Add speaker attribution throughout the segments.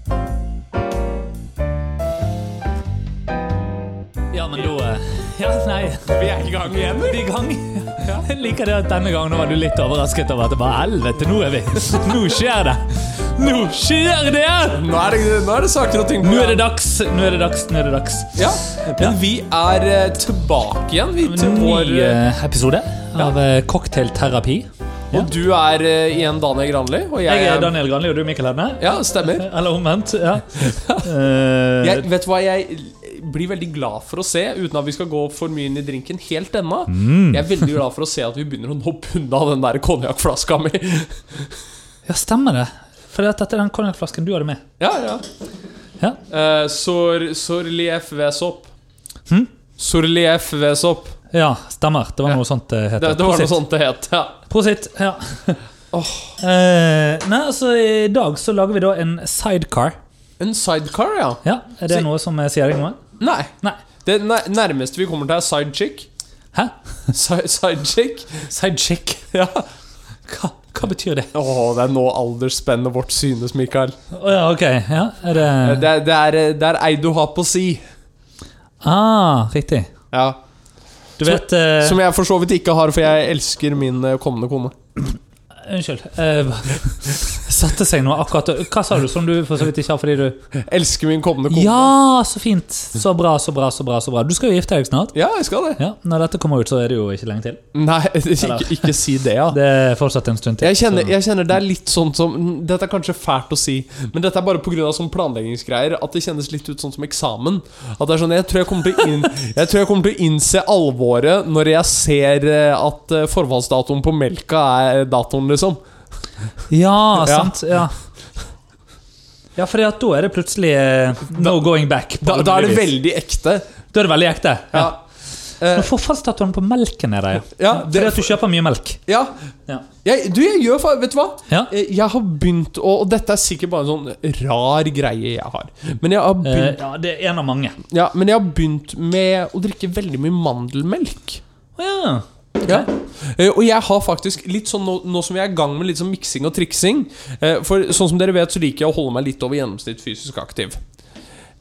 Speaker 1: eh, Ja, nei,
Speaker 2: Vi er i gang igjen.
Speaker 1: vi er i gang. Jeg liker det at denne gangen var du litt overrasket over at det bare helvete, nå er vi Nå skjer det! Nå skjer det!
Speaker 2: Nå er det, nå er det saker og ting på
Speaker 1: Nå er det
Speaker 2: gang.
Speaker 1: dags, nå er det dags, nå er det dags.
Speaker 2: Ja,
Speaker 1: Ja.
Speaker 2: men vi er eh, tilbake igjen, vi, til vår
Speaker 1: Ny eh, episode av eh, Cocktailterapi. Ja.
Speaker 2: Og du er eh, igjen Daniel Granli, og jeg,
Speaker 1: Jeg er Daniel Granli, og du er Mikkel Henne.
Speaker 2: Ja, stemmer.
Speaker 1: Eller omvendt. ja. Eh,
Speaker 2: Jeg, vet du hva, jeg blir veldig glad for å se, uten at vi skal gå for mye inn i drinken helt ennå
Speaker 1: Mm.
Speaker 2: Jeg er veldig glad for å se at vi begynner å hoppe unna den der konjakkflaska mi.
Speaker 1: ja, stemmer det. For dette er den konjakkflasken du hadde med.
Speaker 2: Ja, ja.
Speaker 1: Ja.
Speaker 2: Eh, Sor, sorlief vesop.
Speaker 1: Hm?
Speaker 2: Sorlief vesop.
Speaker 1: ja, stemmer. Det var noe sånt eh, det het.
Speaker 2: Det, det var noe
Speaker 1: Prosit.
Speaker 2: sånt det het. Ja.
Speaker 1: Prosit. Ja.
Speaker 2: Åh.
Speaker 1: Eh, nei, altså I dag så lager vi da en sidecar.
Speaker 2: En sidecar, ja.
Speaker 1: Ja, Er det
Speaker 2: Så-
Speaker 1: noe som eh, sier deg noe?
Speaker 2: Nei.
Speaker 1: Nei.
Speaker 2: Det nær- nærmeste vi kommer til, er sidechick.
Speaker 1: Hæ?
Speaker 2: Si- Sidechick?
Speaker 1: Sidechick?
Speaker 2: Ja.
Speaker 1: Hva, hva betyr det?
Speaker 2: Åh, det er nå aldersspennet vårt synes, Mikael.
Speaker 1: Å ja, ok. Ja, er Eh, det
Speaker 2: Det, er- det, er, det er ei du har på si.
Speaker 1: Ah, riktig.
Speaker 2: Ja.
Speaker 1: Du
Speaker 2: Som-
Speaker 1: vet eh,
Speaker 2: Som jeg for så vidt ikke har, for jeg elsker min eh, kommende kone.
Speaker 1: Unnskyld. Eh, satte seg nå akkurat Hva sa du som du for så vidt ikke har fordi du
Speaker 2: Elsker min kommende kone.
Speaker 1: Ja, så fint! Så bra, så bra, så bra. så bra Du skal jo gifte deg snart.
Speaker 2: Ja, jeg skal det.
Speaker 1: Ja, Når dette kommer ut, så er det jo ikke lenge til.
Speaker 2: Nei, ikke, ikke si det, ja.
Speaker 1: Det er fortsatt en stund til.
Speaker 2: Jeg kjenner,
Speaker 1: så-
Speaker 2: jeg kjenner det er litt sånn som Dette er kanskje fælt å si, men dette er bare pga. sånn planleggingsgreier at det kjennes litt ut sånn som eksamen. At det er sånn, Jeg tror jeg kommer til å, inn, jeg tror jeg kommer til å innse alvoret når jeg ser eh, at eh, forfallsdatoen på melka er datoen, liksom.
Speaker 1: Ja,
Speaker 2: Ja.
Speaker 1: sant. Ja. Ja, for da er det plutselig eh, no going back. på
Speaker 2: Da, da er det
Speaker 1: vanligvis.
Speaker 2: veldig ekte.
Speaker 1: da er det veldig ekte. Ja.
Speaker 2: Ja, Eh,
Speaker 1: Men Forfallsdatoen på melken er det, ja.
Speaker 2: ja,
Speaker 1: Fordi
Speaker 2: det,
Speaker 1: at du kjøper mye melk.
Speaker 2: ja.
Speaker 1: Ja.
Speaker 2: Jeg, du, jeg gjør fa- Vet du hva?
Speaker 1: Ja.
Speaker 2: Eh, Jeg har begynt å Og dette er sikkert bare en sånn rar greie jeg har. Men jeg har
Speaker 1: Eh,
Speaker 2: begynt,
Speaker 1: ja, det er en av mange.
Speaker 2: ja, men jeg har begynt med å drikke veldig mye mandelmelk.
Speaker 1: Å ja.
Speaker 2: Ja. Eh, Og jeg har faktisk litt sånn nå, nå som jeg er i gang med litt sånn miksing og triksing eh, For sånn som dere vet, så liker jeg å holde meg litt over gjennomsnitt fysisk aktiv.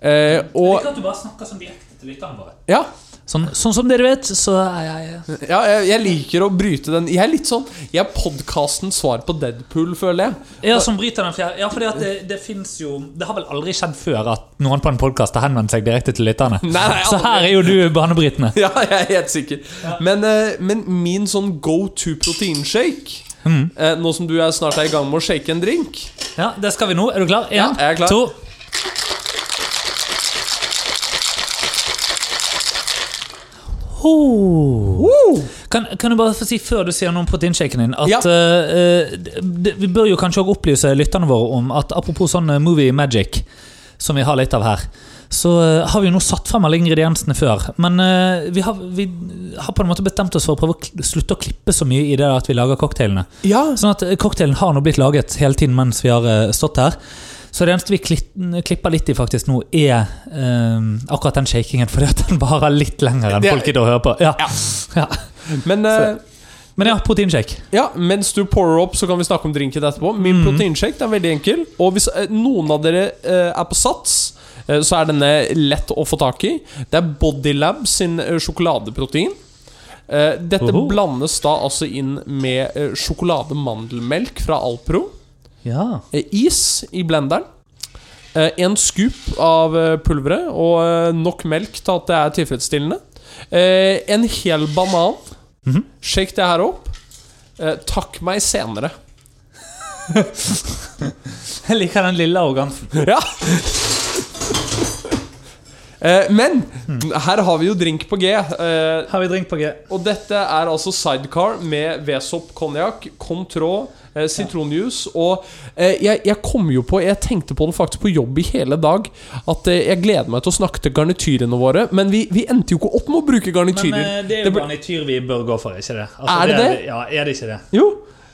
Speaker 2: Eh, og
Speaker 1: at du bare snakker sånn direkte til lytterne våre.
Speaker 2: ja,
Speaker 1: Sånn, sånn som dere vet, så er jeg
Speaker 2: ja jeg, jeg liker å bryte den Jeg er litt sånn Jeg er podkastens svar på Deadpool, føler jeg.
Speaker 1: eh, Ja, som bryter den fjerde. Ja, fordi at det, det finnes jo Det har vel aldri skjedd før at noen på en podkast har henvendt seg direkte til lytterne.
Speaker 2: Nei, nei,
Speaker 1: så her er jo du banebrytende.
Speaker 2: Ja, jeg er helt sikker. Men, eh, men min sånn go to proteinshake eh, Nå som du er snart er i gang med å shake en drink
Speaker 1: Ja, det skal vi nå. Er du klar?
Speaker 2: Ja,
Speaker 1: En,
Speaker 2: jeg er klar.
Speaker 1: to Ho. Kan, kan du bare få si før du sier noe om proteinshaken din, at
Speaker 2: Ja.
Speaker 1: eh, eh, d- vi bør jo kanskje også opplyse lytterne våre om at apropos sånn eh, movie magic, som vi har litt av her, så eh, har vi jo nå satt frem alle ingrediensene før. Men eh, vi, har, vi har på en måte bestemt oss for å prøve å kl- slutte å klippe så mye i det at vi lager cocktailene.
Speaker 2: Ja,
Speaker 1: Sånn at eh, cocktailen har nå blitt laget hele tiden mens vi har eh, stått her. Så det eneste vi klit- klipper litt i faktisk nå, er eh, akkurat den shakingen. Fordi at den varer litt lenger enn
Speaker 2: Det-
Speaker 1: folk gidder å høre på. Ja.
Speaker 2: Ja.
Speaker 1: Ja.
Speaker 2: men eh,
Speaker 1: Men ja, proteinshake.
Speaker 2: Ja, mens du pourer opp, så kan vi snakke om drinken etterpå. Min proteinshake den er veldig enkel. Og hvis eh, noen av dere eh, er på sats, eh, så er denne lett å få tak i. Det er Bodylab sin eh, sjokoladeprotein. Eh, dette
Speaker 1: Oho.
Speaker 2: blandes da altså inn med eh, sjokolademandelmelk fra Alpro.
Speaker 1: Ja.
Speaker 2: Eh, is i blenderen. Eh, en scoop av eh, pulveret og eh, nok melk til at det er tilfredsstillende. Eh, en hel banan.
Speaker 1: Mhm.
Speaker 2: Shake det her opp. Eh, takk meg senere.
Speaker 1: Jeg liker den lille arrogansen.
Speaker 2: Ja! Eh, men her har vi jo drink på G. Eh,
Speaker 1: Har vi drink på G?
Speaker 2: og dette er altså sidecar med Vesop konjakk, Contrå, eh, sitronjuice og eh, jeg, jeg kom jo på, jeg tenkte på det faktisk på jobb i hele dag, at eh, jeg gleder meg til å snakke til garnityrene våre, men vi, vi endte jo ikke opp med å bruke
Speaker 1: Men
Speaker 2: garnityrer.
Speaker 1: eh, det er
Speaker 2: Det
Speaker 1: jo
Speaker 2: ble-
Speaker 1: garnityr vi bør gå for, er ikke det?
Speaker 2: Er det det?
Speaker 1: Ja, er det ikke det?
Speaker 2: Jo,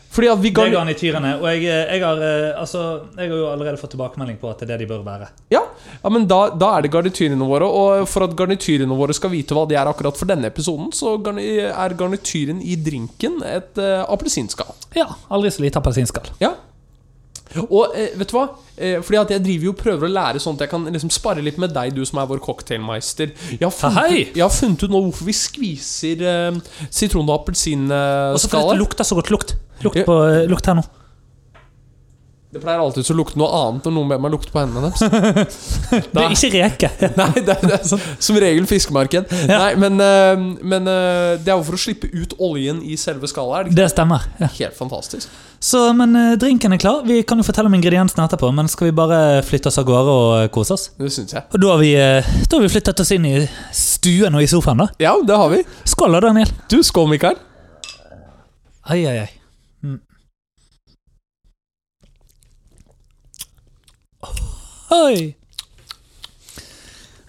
Speaker 2: fordi at vi
Speaker 1: Det er
Speaker 2: garni...
Speaker 1: garnityrene. Og jeg, jeg, har, eh, altså, jeg har jo allerede fått tilbakemelding på at det er det de bør være.
Speaker 2: Ja, ja men da, da er det garnityrene våre, og for at garnityrene våre skal vite hva de er akkurat for denne episoden, så garni er garnityren i drinken et eh, appelsinskall.
Speaker 1: Ja, aldri så lite appelsinskall.
Speaker 2: Ja. Og eh, vet du hva? Eh, fordi at jeg driver jo og prøver å lære sånn at jeg kan liksom spare litt med deg, du som er vår cocktailmeister. Jeg har funnet,
Speaker 1: Hei!
Speaker 2: Jeg har funnet ut nå hvorfor vi skviser eh, sitron- og
Speaker 1: Og så fordi det
Speaker 2: appelsinskaller.
Speaker 1: lukter så godt. Lukt Lukt,
Speaker 2: Ja.
Speaker 1: på, eh, lukt her nå.
Speaker 2: Det pleier alltid å lukte noe annet når noen ber meg lukte på hendene deres.
Speaker 1: Det er ikke reke.
Speaker 2: Nei, det, det er som regel fiskemarked. Nei, men, eh, men eh, det er jo for å slippe ut oljen i selve skallet. Er det
Speaker 1: Det stemmer. Ja.
Speaker 2: ikke helt fantastisk?
Speaker 1: Så, men eh, drinken er klar. Vi kan jo fortelle om ingrediensene etterpå, men skal vi bare flytte oss av gårde og eh, kose oss?
Speaker 2: Det syns jeg.
Speaker 1: Og da har, vi, eh, da har vi flyttet oss inn i stuen og i sofaen, da.
Speaker 2: Ja, det har vi.
Speaker 1: Skål da, Daniel.
Speaker 2: Du, skål, Mikael.
Speaker 1: Ai, ai, ai. Mm. Oi!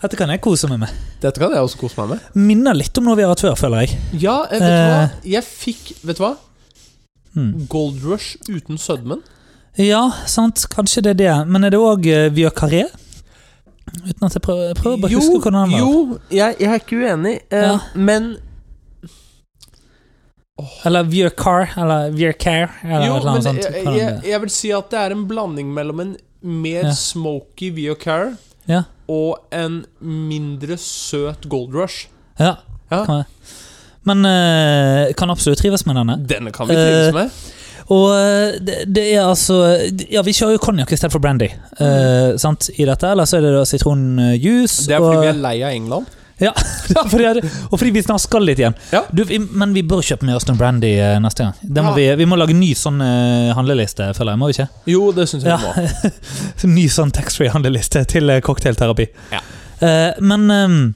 Speaker 1: Dette kan jeg kose meg med.
Speaker 2: Dette kan jeg også kose meg med.
Speaker 1: Minner litt om noe vi har hatt før, føler jeg.
Speaker 2: Ja, eh, vet du hva? Jeg fikk Vet du hva?
Speaker 1: Mm.
Speaker 2: Gold Rush uten sødmen.
Speaker 1: Ja, sant, kanskje det er det. Men er det òg Vieux Carré? Uten at jeg prøver, jeg prøver bare å huske hvordan den var.
Speaker 2: jo jeg, jeg er ikke uenig, eh,
Speaker 1: Ja.
Speaker 2: men
Speaker 1: Eller Vieux Car, eller Vieux Care, eller
Speaker 2: Jo,
Speaker 1: et eller annet
Speaker 2: men
Speaker 1: sånt.
Speaker 2: jeg,
Speaker 1: Hva
Speaker 2: jeg,
Speaker 1: det er.
Speaker 2: jeg vil si at det er en blanding mellom en mer
Speaker 1: Ja.
Speaker 2: smoky Viocar
Speaker 1: Ja.
Speaker 2: og en mindre søt Gold Rush.
Speaker 1: Ja,
Speaker 2: Ja.
Speaker 1: kan jeg. Men eh, kan absolutt trives med denne.
Speaker 2: Denne kan vi trives
Speaker 1: Eh,
Speaker 2: med.
Speaker 1: Og eh, det, det er altså Ja, vi kjører jo konjakk i stedet for brandy eh, sant, i dette. Eller så er det da sitronjuice.
Speaker 2: Mm. Det er fordi
Speaker 1: og,
Speaker 2: vi er lei av England.
Speaker 1: ja, ja, fordi, jeg- og fordi vi snart skal litt igjen.
Speaker 2: Ja.
Speaker 1: Du, vi, men vi bør kjøpe med oss noe brandy eh, neste gang. Det må vi, vi må lage ny sånn eh, handleliste, føler jeg. Må vi ikke?
Speaker 2: Jo, det syns jeg
Speaker 1: Ja.
Speaker 2: vi må.
Speaker 1: Ny sånn taxfree handleliste til eh, cocktailterapi.
Speaker 2: Ja.
Speaker 1: Eh, men ehm,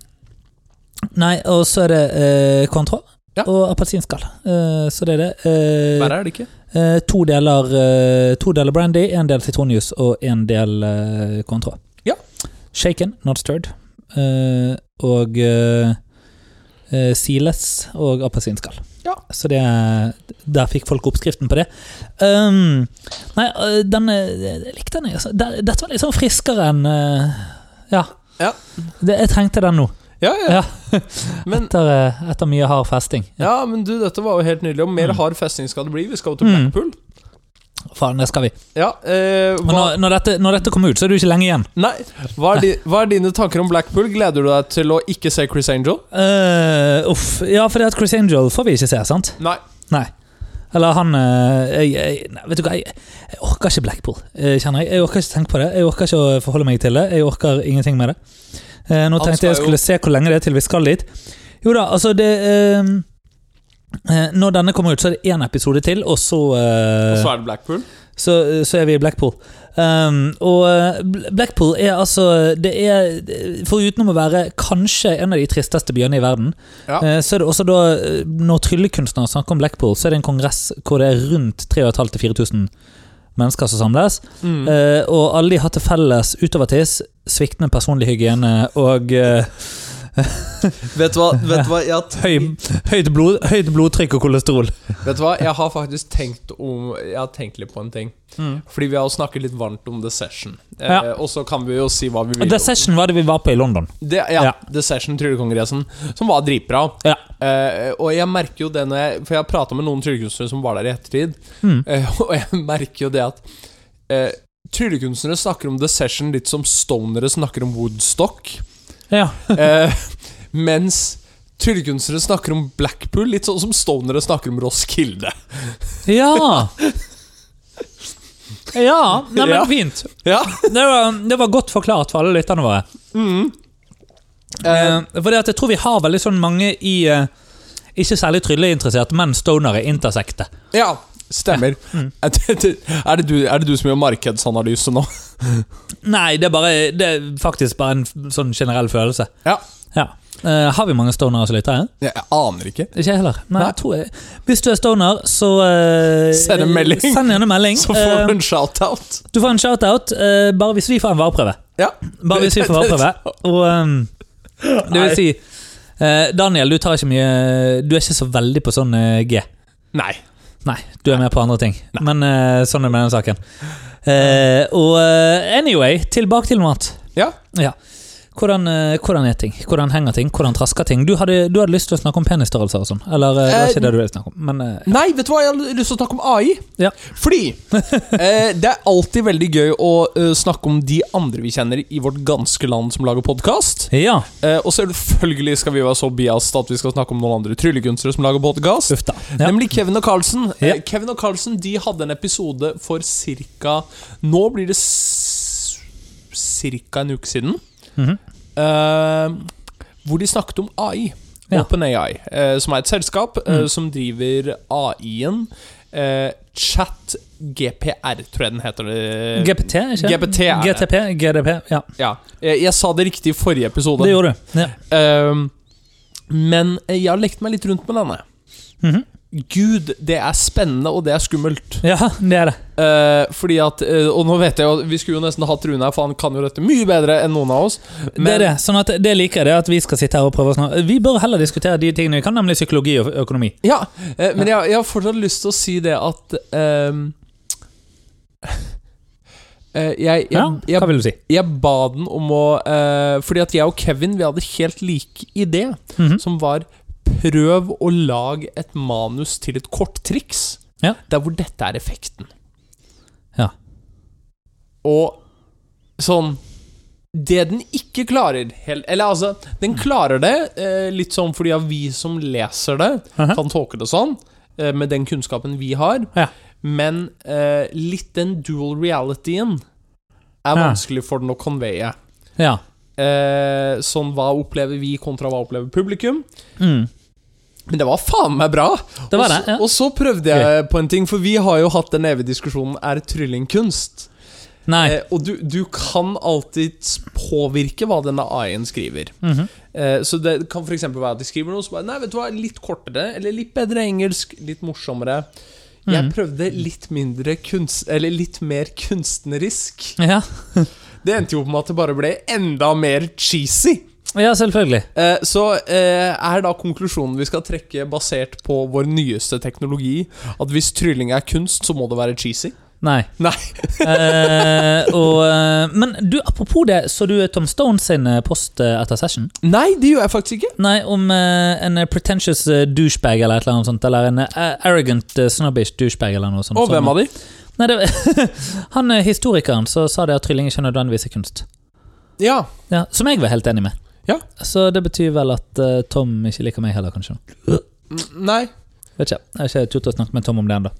Speaker 1: Nei, og så er det eh, Cointreau
Speaker 2: Ja.
Speaker 1: og appelsinskall. Eh, så det er det. Eh,
Speaker 2: Verre er det ikke.
Speaker 1: Eh, to, deler, eh, to deler brandy, en del sitronjuice og en del eh, kontra.
Speaker 2: Ja.
Speaker 1: Shaken, not stirred. Eh, og eh, eh, siles og appelsinskall.
Speaker 2: Ja.
Speaker 1: Så det er- Der fikk folk oppskriften på det. Um, nei, eh, den eh, Jeg likte den. altså. Det- Dette var litt sånn friskere enn eh, Ja.
Speaker 2: Ja.
Speaker 1: Det, jeg trengte den nå,
Speaker 2: Ja, ja. Men,
Speaker 1: etter, eh, etter mye hard festing.
Speaker 2: ja, men du, dette var jo helt nydelig. Og mer
Speaker 1: Mm.
Speaker 2: hard festing skal det bli. Vi skal jo til
Speaker 1: Mm.
Speaker 2: Blackpool.
Speaker 1: Faen, det skal vi.
Speaker 2: Ja, eh,
Speaker 1: Men når,
Speaker 2: hva-
Speaker 1: når, dette, når dette kommer ut, så er det jo ikke lenge igjen.
Speaker 2: Nei, hva er, di, hva er dine tanker om Blackpool? Gleder du deg til å ikke se Chris Angel?
Speaker 1: Eh, uff, ja, for det at Chris Angel får vi ikke se, sant?
Speaker 2: Nei.
Speaker 1: Nei. Eller han eh, jeg, jeg, nei, Vet du hva, jeg, jeg orker ikke Blackpool, eh, kjenner jeg. Jeg orker ikke tenke på det. Jeg orker ikke å forholde meg til det. Jeg orker ingenting med det. Eh, nå
Speaker 2: Han
Speaker 1: tenkte jeg jeg
Speaker 2: skal
Speaker 1: skulle se hvor lenge det er til vi skal dit. Jo da, altså det eh, eh, Når denne kommer ut, så er det én episode til, og så eh,
Speaker 2: Og så er det Blackpool?
Speaker 1: så, så er vi i Blackpool. Um, og eh, Bl- Blackpool er altså Det er, Foruten å være kanskje en av de tristeste byene i verden,
Speaker 2: Ja.
Speaker 1: eh, så er det også da eh, Når tryllekunstnere snakker om Blackpool, så er det en kongress hvor det er rundt 3500-4000 mennesker som samles.
Speaker 2: Mm.
Speaker 1: Eh, og alle de har til felles utovertiss sviktende personlig hygiene og eh,
Speaker 2: Eh, Vet du hva? Vet du hva? Jeg, har
Speaker 1: høy-
Speaker 2: tenkt-
Speaker 1: høyt, blod, høyt blodtrykk og kolesterol.
Speaker 2: vet du hva? jeg har faktisk tenkt om Jeg har tenkt litt på en ting. Fordi vi har jo snakket litt varmt om The Session. Eh,
Speaker 1: Ja.
Speaker 2: Og så kan vi jo si hva vi vil.
Speaker 1: The Session var det vi var på i London.
Speaker 2: Det, ja,
Speaker 1: Ja.
Speaker 2: The Session Tryllekongressen, som var dritbra.
Speaker 1: Ja.
Speaker 2: Eh, og jeg merker jo det når jeg For jeg har prata med noen tryllekunstnere som var der i ettertid,
Speaker 1: Mm.
Speaker 2: eh, og jeg merker jo det at uh, Tryllekunstnere snakker om The Session litt som stonere snakker om Woodstock.
Speaker 1: ja.
Speaker 2: Eh, mens tryllekunstnere snakker om Blackpool, litt sånn som stonere snakker om Roskilde.
Speaker 1: Ja! Ja, nei, men
Speaker 2: Ja.
Speaker 1: fint.
Speaker 2: Ja.
Speaker 1: Det var, det var godt forklart for alle lytterne våre.
Speaker 2: Eh,
Speaker 1: Eh, fordi at jeg tror vi har veldig sånn mange i eh, Ikke særlig trylleinteresserte, men stonere intersekte.
Speaker 2: ja. Stemmer.
Speaker 1: Mm.
Speaker 2: Er, det, er, det du, er det du som gjør markedsanalyse nå?
Speaker 1: Nei, det er, bare, det er faktisk bare en f- sånn generell følelse.
Speaker 2: Ja.
Speaker 1: Ja. Eh, har vi mange stonere som lytter? eh?
Speaker 2: Jeg, jeg aner ikke.
Speaker 1: Ikke jeg heller. Nei,
Speaker 2: Nei.
Speaker 1: Jeg tror jeg. Hvis du er stoner, så eh,
Speaker 2: Send en melding.
Speaker 1: Send gjerne en melding.
Speaker 2: Så får
Speaker 1: Eh,
Speaker 2: du en shout-out.
Speaker 1: du får en shout-out eh, bare hvis vi får en vareprøve.
Speaker 2: Ja.
Speaker 1: Bare hvis vi får vareprøve. Og um, det vil si eh, Daniel, du tar ikke mye Du er ikke så veldig på sånn eh, G.
Speaker 2: Nei.
Speaker 1: Nei, du er med på andre ting. Men eh, sånn er det med den saken. Eh, og eh, anyway, tilbake til noe annet.
Speaker 2: Ja.
Speaker 1: Ja. Hvordan, eh, hvordan er ting? Hvordan henger ting? Hvordan trasker ting? Du hadde, du hadde lyst til å snakke om penisstørrelser og sånn. Eller eh, det var ikke det du ville snakke om, men eh,
Speaker 2: Nei, vet du hva? Jeg har lyst til å snakke om AI.
Speaker 1: Ja.
Speaker 2: Fordi eh, det er alltid veldig gøy å eh, snakke om de andre vi kjenner i vårt ganske land som lager podkast.
Speaker 1: Ja.
Speaker 2: Eh, og selvfølgelig skal vi være så biast at vi skal snakke om noen andre tryllekunstnere som lager podkast.
Speaker 1: Uff da. Ja.
Speaker 2: Nemlig Kevin og Carlsen.
Speaker 1: Ja.
Speaker 2: Eh, Kevin og Carlsen de hadde en episode for cirka Nå blir det s- cirka en uke siden.
Speaker 1: Mhm.
Speaker 2: eh, hvor de snakket om AI.
Speaker 1: Ja. Mm.
Speaker 2: OpenAI, eh, som er et selskap eh, som driver AI-en. Eh, Chat GPR, tror jeg den heter. eh,
Speaker 1: GPT, ikke?
Speaker 2: GPT er det.
Speaker 1: GTP, GDP, ja.
Speaker 2: ja. Eh, Jeg, jeg sa det riktig i forrige episode.
Speaker 1: Det gjorde du. Ja.
Speaker 2: Ehm, men jeg har lekt meg litt rundt med denne.
Speaker 1: Mhm.
Speaker 2: Gud, det er spennende, og det er skummelt.
Speaker 1: ja, det er det.
Speaker 2: Eh, fordi at eh, Og nå vet jeg jo Vi skulle jo nesten hatt Rune her, for han kan jo dette mye bedre enn noen av oss.
Speaker 1: det er det. Sånn at det liker jeg, det at vi skal sitte her og prøve å snakke Vi bør heller diskutere de tingene vi kan, nemlig psykologi og økonomi.
Speaker 2: Ja, eh, men jeg, jeg har fortsatt lyst til å si det at ehm, eh, jeg, jeg,
Speaker 1: Ja,
Speaker 2: jeg,
Speaker 1: hva vil du si?
Speaker 2: jeg ba den om å eh, Fordi at jeg og Kevin Vi hadde helt lik idé,
Speaker 1: Mhm.
Speaker 2: som var prøv å lage et manus til et korttriks.
Speaker 1: Ja.
Speaker 2: Der hvor dette er effekten.
Speaker 1: Ja.
Speaker 2: Og sånn Det den ikke klarer helt, Eller altså, den klarer det eh, litt sånn fordi at vi som leser det,
Speaker 1: Aha.
Speaker 2: kan tolke det sånn, eh, med den kunnskapen vi har.
Speaker 1: Ja.
Speaker 2: Men eh, litt den dual realityen er
Speaker 1: Ja.
Speaker 2: vanskelig for den å conveye.
Speaker 1: Ja.
Speaker 2: Eh, sånn hva opplever vi kontra hva opplever publikum.
Speaker 1: Mm.
Speaker 2: Men det var faen meg bra!
Speaker 1: Det var
Speaker 2: og, så,
Speaker 1: det, ja.
Speaker 2: og så prøvde jeg på en ting, for vi har jo hatt den evige diskusjonen er trylling kunst.
Speaker 1: Nei.
Speaker 2: Eh, og du, du kan alltids påvirke hva denne AI-en skriver.
Speaker 1: Mhm.
Speaker 2: Eh, så det kan f.eks. være at de skriver noe som bare Nei, vet du hva, litt kortere, eller litt bedre engelsk, litt morsommere. Jeg
Speaker 1: Mhm.
Speaker 2: prøvde litt mindre kunst... Eller litt mer kunstnerisk.
Speaker 1: ja.
Speaker 2: Det endte jo på med at det bare ble enda mer cheesy.
Speaker 1: ja, selvfølgelig.
Speaker 2: Eh, Så eh, er da konklusjonen vi skal trekke basert på vår nyeste teknologi, at hvis trylling er kunst, så må det være cheesy?
Speaker 1: Nei.
Speaker 2: Nei.
Speaker 1: Eh, og, eh, men du, apropos det, så du Tom Stone sin eh, post eh, etter session?
Speaker 2: Nei, det gjør jeg faktisk ikke.
Speaker 1: Nei, om eh, en eh, pretentious eh, douchebag eller et eller annet sånt. Eller en eh, arrogant eh, snobbish douchebag eller noe sånt.
Speaker 2: Og hvem av de?
Speaker 1: Nei, det, han eh, historikeren så sa det at trylling ikke nødvendigvis er kunst.
Speaker 2: Ja.
Speaker 1: Ja, som jeg var helt enig med.
Speaker 2: Ja.
Speaker 1: Så det betyr vel at eh, Tom ikke liker meg heller, kanskje.
Speaker 2: N- Nei.
Speaker 1: Vet ikke, Jeg har ikke turt å snakke med Tom om det ennå.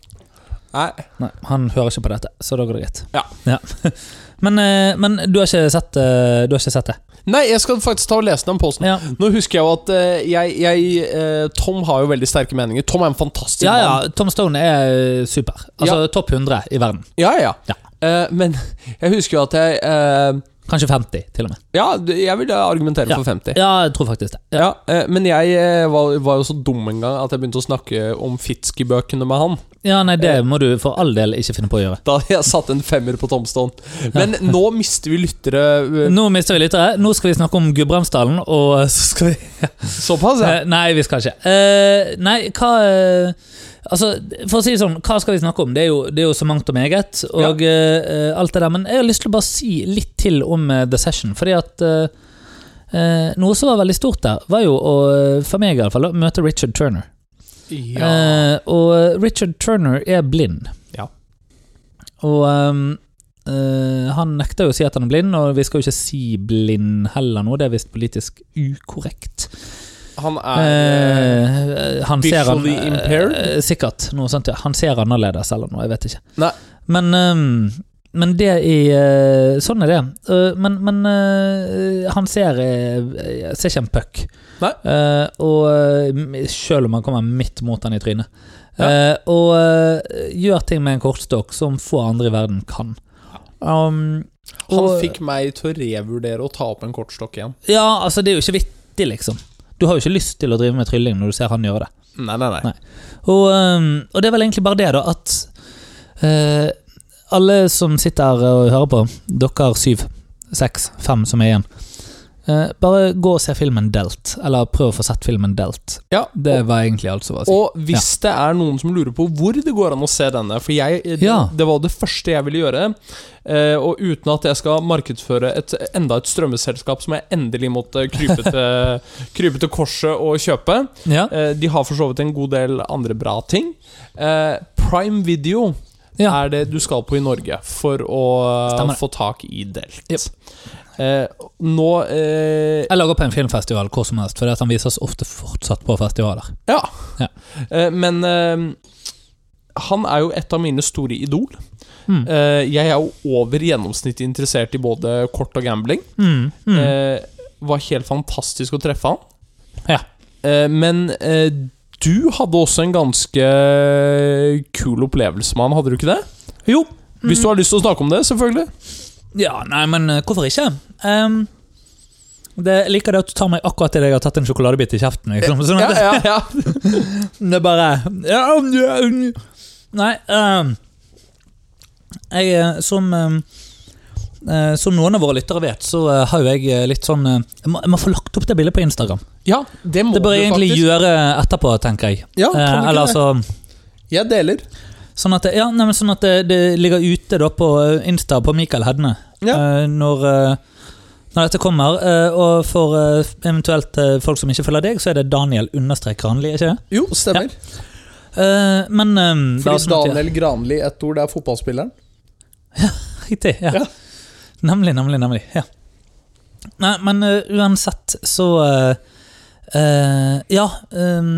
Speaker 2: Nei.
Speaker 1: Nei, Han hører ikke på dette, så da går det greit.
Speaker 2: Ja.
Speaker 1: men, eh, men du har ikke sett, eh, du har ikke sett det?
Speaker 2: Nei, jeg skal faktisk ta og lese den posten.
Speaker 1: Ja.
Speaker 2: Nå husker jeg jo at eh, jeg, jeg eh, Tom har jo veldig sterke meninger. Tom er en fantastisk
Speaker 1: ja,
Speaker 2: mann.
Speaker 1: ja. Tom Stone er super. Altså topp 100 i verden.
Speaker 2: Ja, ja.
Speaker 1: Ja.
Speaker 2: Eh, men jeg husker jo at jeg eh,
Speaker 1: Kanskje 50, til og med.
Speaker 2: Ja, jeg ville argumentere for 50.
Speaker 1: Ja, jeg tror faktisk det. Ja.
Speaker 2: Ja, eh, men jeg eh, var, var jo så dum en gang at jeg begynte å snakke om Fitzky-bøkene med han.
Speaker 1: ja, nei, det må du for all del ikke finne på å gjøre.
Speaker 2: Da jeg satte en femmer på Tomstone. Men nå mister vi lyttere eh,
Speaker 1: Nå mister vi lyttere. Nå skal vi snakke om Gudbrandsdalen, og så skal vi
Speaker 2: såpass, ja.
Speaker 1: Eh, Nei, vi skal ikke. Eh, nei, hva eh, Altså, for å si det sånn, hva skal vi snakke om? Det er jo, det er jo så mangt og meget, og eh, eh, alt det der. Men jeg har lyst til å bare si litt til om eh, The Session, fordi at eh, eh, noe som var veldig stort der, var jo å, eh, for meg i alle fall, å møte Richard Turner. Eh, og Richard Turner er blind.
Speaker 2: Ja.
Speaker 1: Og ehm, eh, han nekter jo å si at han er blind, og vi skal jo ikke si blind heller nå, det er visst politisk ukorrekt.
Speaker 2: Han er eh,
Speaker 1: Eh, han ser han,
Speaker 2: visually impaired?
Speaker 1: eh, sikkert. Noe sånt, ja. Han ser annerledes eller noe, jeg vet ikke.
Speaker 2: Nei.
Speaker 1: Men, ehm, men det i eh, Sånn er det. Eh, men men eh, han ser eh, Ser ikke en puck.
Speaker 2: Nei.
Speaker 1: Eh, og eh, selv om han kommer midt mot han i trynet.
Speaker 2: Ja.
Speaker 1: Eh, og eh, gjør ting med en kortstokk som få andre i verden kan. Um,
Speaker 2: Han
Speaker 1: og-
Speaker 2: fikk meg til å revurdere å ta opp en kortstokk igjen.
Speaker 1: Ja, altså, det er jo ikke vittig, liksom. Du har jo ikke lyst til å drive med trylling når du ser han gjøre det.
Speaker 2: Nei, nei, nei.
Speaker 1: Nei. Og, ehm, og det er vel egentlig bare det, da, at eh, alle som sitter her og hører på, dere syv, seks, fem som er igjen, Eh, bare gå og se filmen Delt, eller prøv å få sett filmen Delt.
Speaker 2: Ja,
Speaker 1: Det var egentlig alt som var å si.
Speaker 2: Og hvis det er noen som lurer på hvor det går an å se denne For jeg, det,
Speaker 1: Ja.
Speaker 2: det var det første jeg ville gjøre. eh, og uten at jeg skal markedsføre et, enda et strømmeselskap som jeg endelig måtte krype til, krype til korset og kjøpe.
Speaker 1: Ja,
Speaker 2: Eh, de har for så vidt en god del andre bra ting. Eh, Prime Video
Speaker 1: ja.
Speaker 2: er det du skal på i Norge for å
Speaker 1: Stemmer.
Speaker 2: få tak i delt.
Speaker 1: Jep.
Speaker 2: Eh, nå eh,
Speaker 1: Jeg lager på en filmfestival hvor som helst, for det at han vises ofte fortsatt på festivaler.
Speaker 2: Ja.
Speaker 1: Ja.
Speaker 2: Eh, men eh, han er jo et av mine store idol.
Speaker 1: Mm.
Speaker 2: Eh, jeg er jo over gjennomsnittet interessert i både kort og gambling.
Speaker 1: Mm. Mm.
Speaker 2: Eh, var helt fantastisk å treffe han.
Speaker 1: Ja.
Speaker 2: Eh, men eh, du hadde også en ganske kul opplevelse med han, hadde du ikke det?
Speaker 1: Jo.
Speaker 2: Hvis du har lyst til å snakke om det, selvfølgelig.
Speaker 1: Ja, nei, men eh, hvorfor ikke? Ehm, det, jeg liker det at du tar meg akkurat idet jeg har tatt en sjokoladebit i kjeften. Liksom. Sånn
Speaker 2: Eh, Ja,
Speaker 1: at
Speaker 2: ja, ja.
Speaker 1: det er bare ja, ja, ja. Nei ehm, jeg, eh, Som ehm, eh, Som noen av våre lyttere vet, så eh, har jo jeg eh, litt sånn eh, Jeg må, jeg må få lagt opp det bildet på Instagram.
Speaker 2: ja det må
Speaker 1: Det bør
Speaker 2: du
Speaker 1: jeg egentlig
Speaker 2: faktisk.
Speaker 1: gjøre etterpå, tenker jeg.
Speaker 2: Ja, kan
Speaker 1: Eh,
Speaker 2: du ikke
Speaker 1: eller
Speaker 2: det?
Speaker 1: altså
Speaker 2: Jeg deler.
Speaker 1: Sånn at, det- ja, nei, men sånn at det, det ligger ute da på eh, Insta på Mikael Hedne eh, når, eh, når dette kommer. eh, og for eh, eventuelt eh, folk som ikke følger deg, så er det Daniel understrek Ranli, ikke det?
Speaker 2: Jo, stemmer.
Speaker 1: Eh, men eh, bare
Speaker 2: Fordi
Speaker 1: sånn at jeg-
Speaker 2: Daniel Granli, ett ord, det er fotballspilleren.
Speaker 1: Riktig. Ja.
Speaker 2: Ja.
Speaker 1: Nemlig, nemlig, nemlig. Ja. Nei, men eh, uansett så eh, eh, Ja. eh,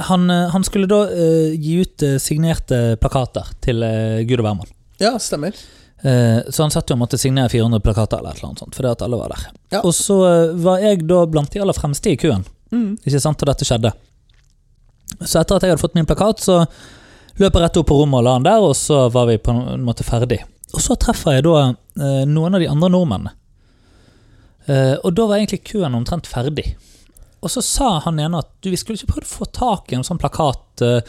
Speaker 1: han, eh, han skulle da eh, gi ut eh, signerte plakater til eh, Gud og hvermann.
Speaker 2: Ja, stemmer.
Speaker 1: Eh, Så han satt jo og måtte signere 400 plakater eller et eller annet sånt, fordi at alle var der.
Speaker 2: Ja.
Speaker 1: Og så eh, var jeg da blant de aller fremste i køen, ikke sant, da dette skjedde. Så etter at jeg hadde fått min plakat, så løp jeg rett opp på rommet og la den der, og så var vi på en måte ferdig. Og så treffer jeg da eh, noen av de andre nordmennene. Eh, og da var egentlig køen omtrent ferdig. Og så sa han ene at du, vi skulle ikke prøvd å få tak i en sånn plakat. eh,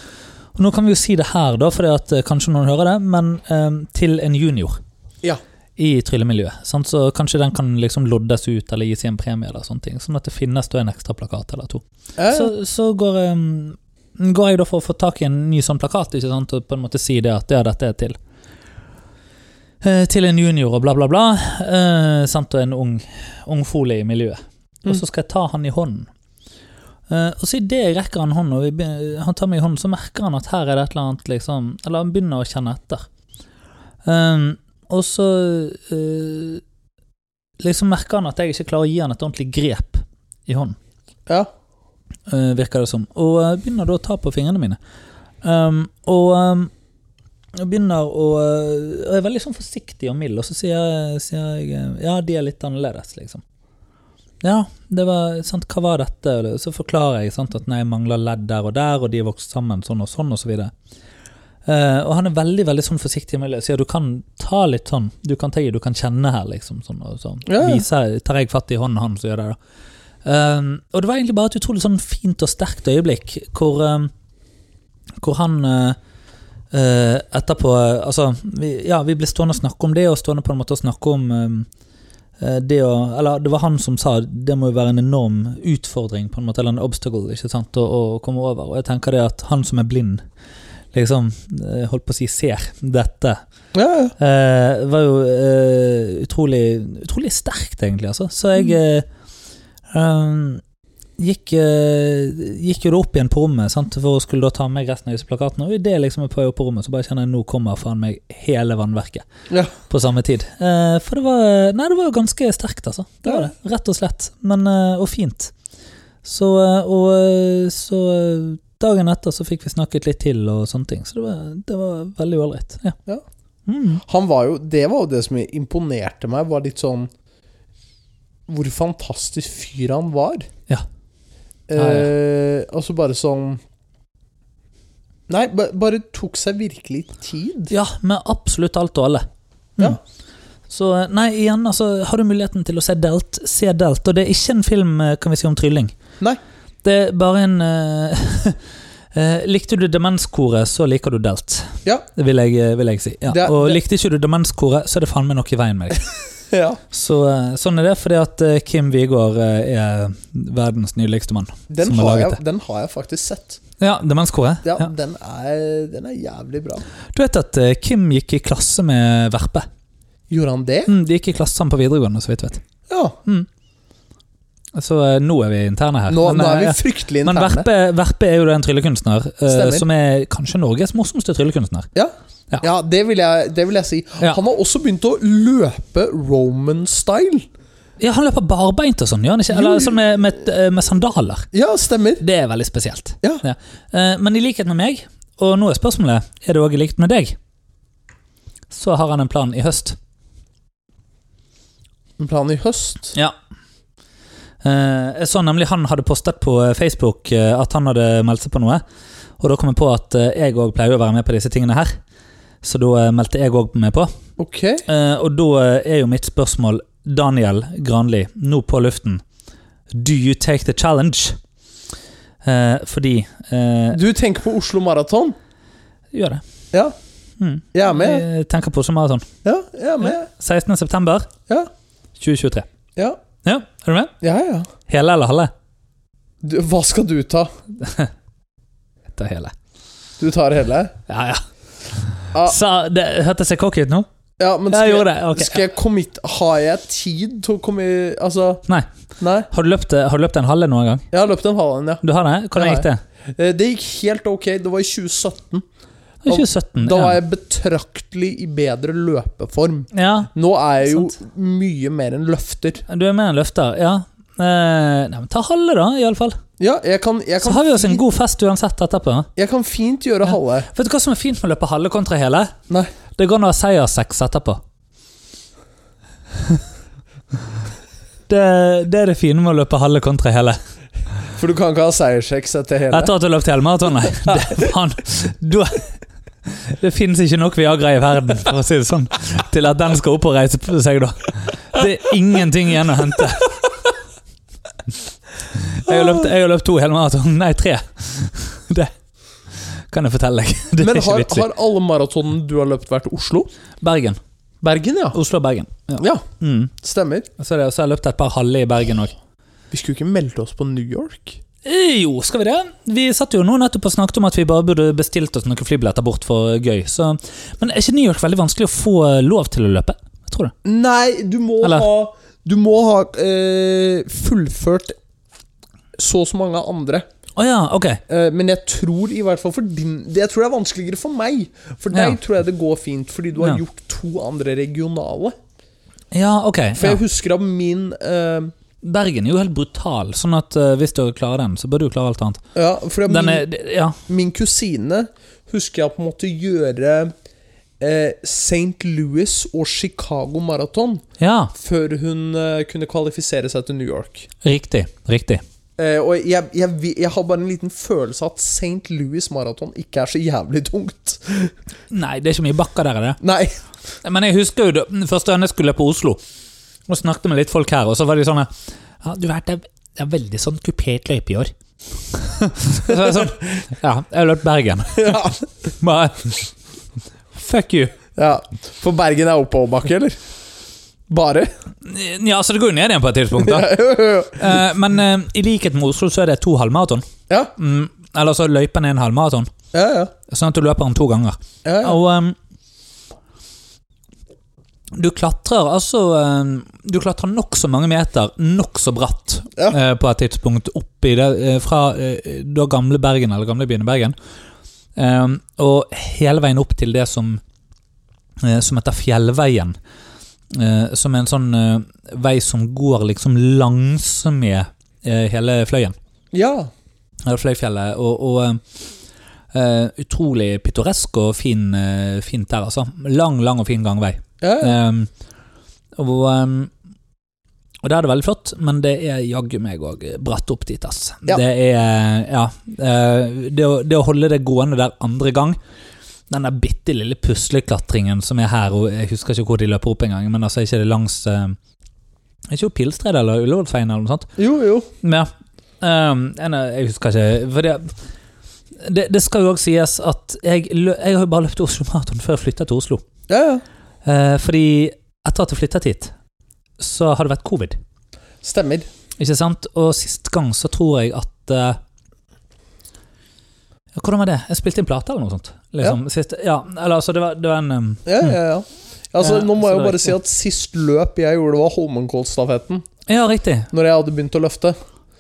Speaker 1: og nå kan vi jo si det her, da, for kanskje noen hører det, men eh, til en junior
Speaker 2: Ja.
Speaker 1: i tryllemiljøet. Sant? Så kanskje den kan liksom loddes ut eller gis i en premie, eller sånne ting. Sånn at det finnes da en ekstra plakat eller to.
Speaker 2: Eh,
Speaker 1: Så, så går, em, går jeg da for å få tak i en ny sånn plakat, ikke sant? og på en måte si det at ja, dette er til. Eh, til en junior og bla, bla, bla. Eh, sant? Og en ung, ung fole i miljøet. Og så skal jeg ta han i hånden. Eh, og så idet jeg rekker han hånden, og vi begyn- han tar meg i hånden, så merker han at her er det et eller annet, liksom Eller han begynner å kjenne etter. Ehm, og så eh, liksom merker han at jeg ikke klarer å gi han et ordentlig grep i hånden,
Speaker 2: ja.
Speaker 1: eh, virker det som. Og eh, begynner da å ta på fingrene mine. Ehm, og ehm, og begynner å eh, og er veldig sånn forsiktig og mild, og så sier, jeg- sier jeg eh, Ja, de er litt annerledes, liksom. Ja, det var sant, hva var dette? Eller Så forklarer jeg sant, at nei, jeg mangler ledd der og der, og de er vokst sammen sånn og sånn, og så videre. Eh, og han er veldig veldig sånn forsiktig med det. Sier du kan ta litt sånn, du kan ta i, du kan kjenne her, liksom. Sånn, og sånn.
Speaker 2: Ja, ja.
Speaker 1: Viser, tar jeg fatt i hånden han, så gjør jeg det. Um, og det var egentlig bare et utrolig sånn fint og sterkt øyeblikk hvor, um, hvor han eh, eh, etterpå eh, Altså, vi, ja, vi ble stående og snakke om det, og stående på en måte og snakke om um, eh, det å Eller det var han som sa det må jo være en enorm utfordring, på en måte, eller en obstacle, ikke sant, å, å komme over. Og jeg tenker det at han som er blind, liksom, eh, holdt på å si, ser dette
Speaker 2: Ja, ja.
Speaker 1: Eh, var jo eh, utrolig, utrolig sterkt, egentlig. Altså. Så jeg eh, um, gikk, eh, gikk jo da opp igjen på rommet sant, for å skulle da ta med resten av disse plakatene. Og idet liksom jeg prøver på rommet, så bare kjenner jeg nå kommer faen meg hele vannverket
Speaker 2: Ja.
Speaker 1: på samme tid. Eh, for det var Nei, det var jo ganske sterkt, altså. Det var det. Rett og slett. Men, eh, og fint. Så, eh, og eh, så eh, Dagen etter så fikk vi snakket litt til og sånne ting, så det var, det var veldig ålreit. Ja.
Speaker 2: Ja.
Speaker 1: Mm.
Speaker 2: Han var jo Det var jo det som imponerte meg, var litt sånn Hvor fantastisk fyr han var.
Speaker 1: Ja.
Speaker 2: Eh,
Speaker 1: Ja,
Speaker 2: Altså bare sånn Nei, ba, bare tok seg virkelig tid.
Speaker 1: Ja, med absolutt alt og alle.
Speaker 2: Ja.
Speaker 1: Mm. Så nei, igjen, altså, har du muligheten til å se Delt, se Delt. Og det er ikke en film eh, kan vi si, om trylling.
Speaker 2: Nei.
Speaker 1: Det er bare en eh, eh, Likte du Demenskoret, så liker du Delt.
Speaker 2: Ja.
Speaker 1: Det vil jeg, vil jeg si. Ja.
Speaker 2: Det er-
Speaker 1: og
Speaker 2: det-
Speaker 1: likte ikke du Demenskoret, så er det faen meg noe i veien med deg.
Speaker 3: Ja.
Speaker 1: Så, eh, sånn er det, fordi at eh, Kim Vigård eh, er verdens nydeligste mann.
Speaker 2: Den
Speaker 1: som har
Speaker 2: har,
Speaker 1: laget
Speaker 2: jeg, den har jeg faktisk sett.
Speaker 1: Ja, Demenskoret.
Speaker 2: Ja,
Speaker 1: Ja.
Speaker 2: Den, er, den er jævlig bra.
Speaker 1: Du vet at eh, Kim gikk i klasse med Verpe.
Speaker 2: Gjorde han det?
Speaker 1: Mm, de gikk i klasse sammen på videregående, så vidt jeg vet.
Speaker 2: Ja.
Speaker 1: Så eh, nå er vi interne her.
Speaker 2: Nå, nå er
Speaker 1: eh,
Speaker 2: vi
Speaker 1: ja.
Speaker 2: fryktelig
Speaker 1: Men
Speaker 2: interne.
Speaker 1: Verpe, Verpe er jo da en tryllekunstner eh,
Speaker 2: Stemmer.
Speaker 1: som er kanskje Norges morsomste tryllekunstner.
Speaker 2: Ja,
Speaker 1: Ja.
Speaker 2: ja det, vil jeg, det vil jeg si.
Speaker 1: Ja.
Speaker 2: Han har også begynt å løpe Roman-style.
Speaker 1: Ja, Han løper barbeint og sånn, gjør han ikke? Eller sånn med, med, eh, med sandaler.
Speaker 2: Ja, stemmer.
Speaker 1: Det er veldig spesielt.
Speaker 2: Ja.
Speaker 1: Eh, Men i likhet med meg, og nå er spørsmålet Er det òg i likhet med deg, så har han en plan i høst.
Speaker 2: En plan i høst.
Speaker 1: Ja. Eh, Jeg så nemlig han hadde postet på eh, Facebook eh, at han hadde meldt seg på noe. Og da kom jeg på at eh, jeg òg pleier å være med på disse tingene her. Så da eh, meldte jeg òg meg på.
Speaker 2: Ok.
Speaker 1: Eh, Og da eh, er jo mitt spørsmål, Daniel Granli, nå på luften Do you take the challenge? Eh, fordi eh,
Speaker 2: Du tenker på Oslo Maraton?
Speaker 1: Gjør det.
Speaker 2: Ja.
Speaker 1: Mm.
Speaker 2: Jeg er med.
Speaker 1: Jeg tenker på som maraton.
Speaker 2: Ja, jeg er med.
Speaker 1: 16. september
Speaker 2: Ja.
Speaker 1: 2023.
Speaker 2: Ja,
Speaker 1: Ja, er du med?
Speaker 2: ja. ja.
Speaker 1: Hele eller halve?
Speaker 2: Du, hva skal du ta?
Speaker 1: Jeg tar hele.
Speaker 2: Du tar hele?
Speaker 1: Ja, ja.
Speaker 2: Ja.
Speaker 1: Sa, det, hørtes jeg cocky ut nå?
Speaker 2: Ja, Ah. men
Speaker 1: Jeg
Speaker 2: skal
Speaker 1: gjorde det. ok.
Speaker 2: Skal jeg komme hit Har jeg tid til å komme i Altså
Speaker 1: Nei.
Speaker 2: Nei.
Speaker 1: Har, du løpt, eh, har du løpt en halve noen gang?
Speaker 2: Jeg har løpt en halv en, ja.
Speaker 1: Du har det? Hvordan
Speaker 2: Ja,
Speaker 1: gikk det?
Speaker 2: Eh, Det gikk helt ok. Det var i
Speaker 1: Det
Speaker 2: 2017.
Speaker 1: var 2017.
Speaker 2: Da var
Speaker 1: ja.
Speaker 2: jeg betraktelig i bedre løpeform.
Speaker 1: ja,
Speaker 2: Nå er jeg jo mye mer enn løfter.
Speaker 1: du er med en løfter. Ja. Eh, nei, men ta halve, da, iallfall.
Speaker 2: Ja, jeg kan, jeg
Speaker 1: Så
Speaker 2: kan,
Speaker 1: har vi oss en
Speaker 2: fint,
Speaker 1: god fest uansett etterpå.
Speaker 2: jeg kan fint gjøre halve.
Speaker 1: Vet du hva som er fint med å løpe halve kontra hele?
Speaker 2: Nei.
Speaker 1: Det går an å ha seierssex etterpå. Det, det er det fine med å løpe halve kontra hele.
Speaker 2: For du kan ikke ha seierssex etter hele.
Speaker 1: Etter at du har løpt helmaraton, nei. Det, faen, du, det finnes ikke nok Viagra i verden for å si det sånn, til at den skal opp og reise på seg, da. Det er ingenting igjen å hente. Jeg har løpt, jeg har løpt to helmaraton, nei, tre. Det kan jeg fortelle deg. Det er
Speaker 2: Men
Speaker 1: ikke
Speaker 2: har,
Speaker 1: vits i.
Speaker 2: har alle maratonene du har løpt, vært Oslo?
Speaker 1: Bergen.
Speaker 2: Bergen, ja.
Speaker 1: Oslo og Bergen. Ja.
Speaker 2: Ja,
Speaker 1: Mm.
Speaker 2: Stemmer.
Speaker 1: Så, er det, så har jeg løpt et par halve i Bergen òg.
Speaker 2: Vi skulle ikke melde oss på New York?
Speaker 1: Eh, Jo, skal vi det? Vi satt jo nå nettopp og snakket om at vi bare burde bestilt oss noen flybilletter bort for gøy. Så. Men er ikke New York veldig vanskelig å få eh, lov til å løpe? Jeg tror det.
Speaker 2: Nei, du må
Speaker 1: Eller?
Speaker 2: ha Du må ha eh, fullført så og så mange andre.
Speaker 1: Å ja, ok.
Speaker 2: Eh, men jeg tror i hvert fall for din det- Jeg tror det er vanskeligere for meg. For deg
Speaker 1: Ja.
Speaker 2: tror jeg det går fint, fordi du har
Speaker 1: Ja.
Speaker 2: gjort to andre regionale.
Speaker 1: Ja, ok.
Speaker 2: For
Speaker 1: Ja.
Speaker 2: jeg husker av min eh,
Speaker 1: Bergen er jo helt brutal, sånn at eh, hvis du klarer den, så bør du jo klare alt annet.
Speaker 2: Ja, for
Speaker 1: Den
Speaker 2: min,
Speaker 1: er, d- ja.
Speaker 2: min kusine husker jeg på en måte gjøre eh, St. Louis og Chicago maraton
Speaker 1: ja,
Speaker 2: før hun eh, kunne kvalifisere seg til New York.
Speaker 1: riktig. Riktig.
Speaker 2: Eh, og jeg, jeg, vi- jeg har bare en liten følelse av at St. Louis maraton ikke er så jævlig tungt.
Speaker 1: Nei, det er ikke mye bakker der, er det?
Speaker 2: Nei.
Speaker 1: Men jeg husker jo det, den første gang jeg skulle på Oslo, og snakket med litt folk her, og så var de sånn Ja, du vet, det er- det er veldig sånn kupert løype i år. så er det sånn Ja, jeg har løpt Bergen.
Speaker 2: Ja.
Speaker 1: Bare Fuck you.
Speaker 2: ja. For Bergen er oppoverbakke, eller? Bare?
Speaker 1: Ja, så det går jo ned igjen på et tidspunkt, da. Eh, Men eh, i likhet med Oslo så er det to halvmaraton.
Speaker 2: Ja,
Speaker 1: Mm, eller så løypen er en halvmaraton,
Speaker 2: ja, ja.
Speaker 1: sånn at du løper den to ganger.
Speaker 2: ja, ja.
Speaker 1: Og ehm, du klatrer altså ehm, Du klatrer nokså mange meter nokså bratt
Speaker 2: Ja.
Speaker 1: eh, på et tidspunkt opp i det eh, fra eh, da gamle Bergen, eller gamlebyen i Bergen, Ehm, og hele veien opp til det som eh, som heter Fjellveien. eh, som er en sånn eh, vei som går liksom langsmed eh, hele fløyen.
Speaker 2: ja.
Speaker 1: Ja, Fløyfjellet. Og, og eh, utrolig pittoresk og fin, eh, fint der, altså. Lang, lang og fin gangvei.
Speaker 2: ja, ja.
Speaker 1: Em, og, em, og det er det veldig flott, men det er jaggu meg òg bratt opp dit, ass.
Speaker 2: Ja.
Speaker 1: Det er Ja. eh, det, å, det å holde det gående der andre gang den der bitte lille pusleklatringen som er her, og jeg husker ikke hvor de løper opp engang, men altså, er ikke det langs eh, Er ikke jo Pilstredet eller Ullevålsveien eller noe sånt?
Speaker 2: Jo, jo.
Speaker 1: Ja. Ehm, jeg, nei, jeg husker ikke for det, det, det skal jo òg sies at jeg, lø, jeg har jo bare løpt Oslo Maraton før jeg flytta til Oslo.
Speaker 2: Ja, ja.
Speaker 1: Eh, fordi etter at jeg flyttet hit, så har det vært covid.
Speaker 2: Stemmer.
Speaker 1: Ikke sant? Og sist gang så tror jeg at eh, ja, Hvordan var det? Jeg spilte inn plate eller noe sånt. Liksom. Sist, ja, eller altså, det var, det var en um,
Speaker 2: Ja, ja, ja. Altså,
Speaker 1: Ja,
Speaker 2: nå må
Speaker 1: så
Speaker 2: jeg
Speaker 1: det
Speaker 2: jo
Speaker 1: er
Speaker 2: bare si at sist løp jeg gjorde, var Holmenkollstafetten.
Speaker 1: Ja, riktig.
Speaker 2: Når jeg hadde begynt å løfte.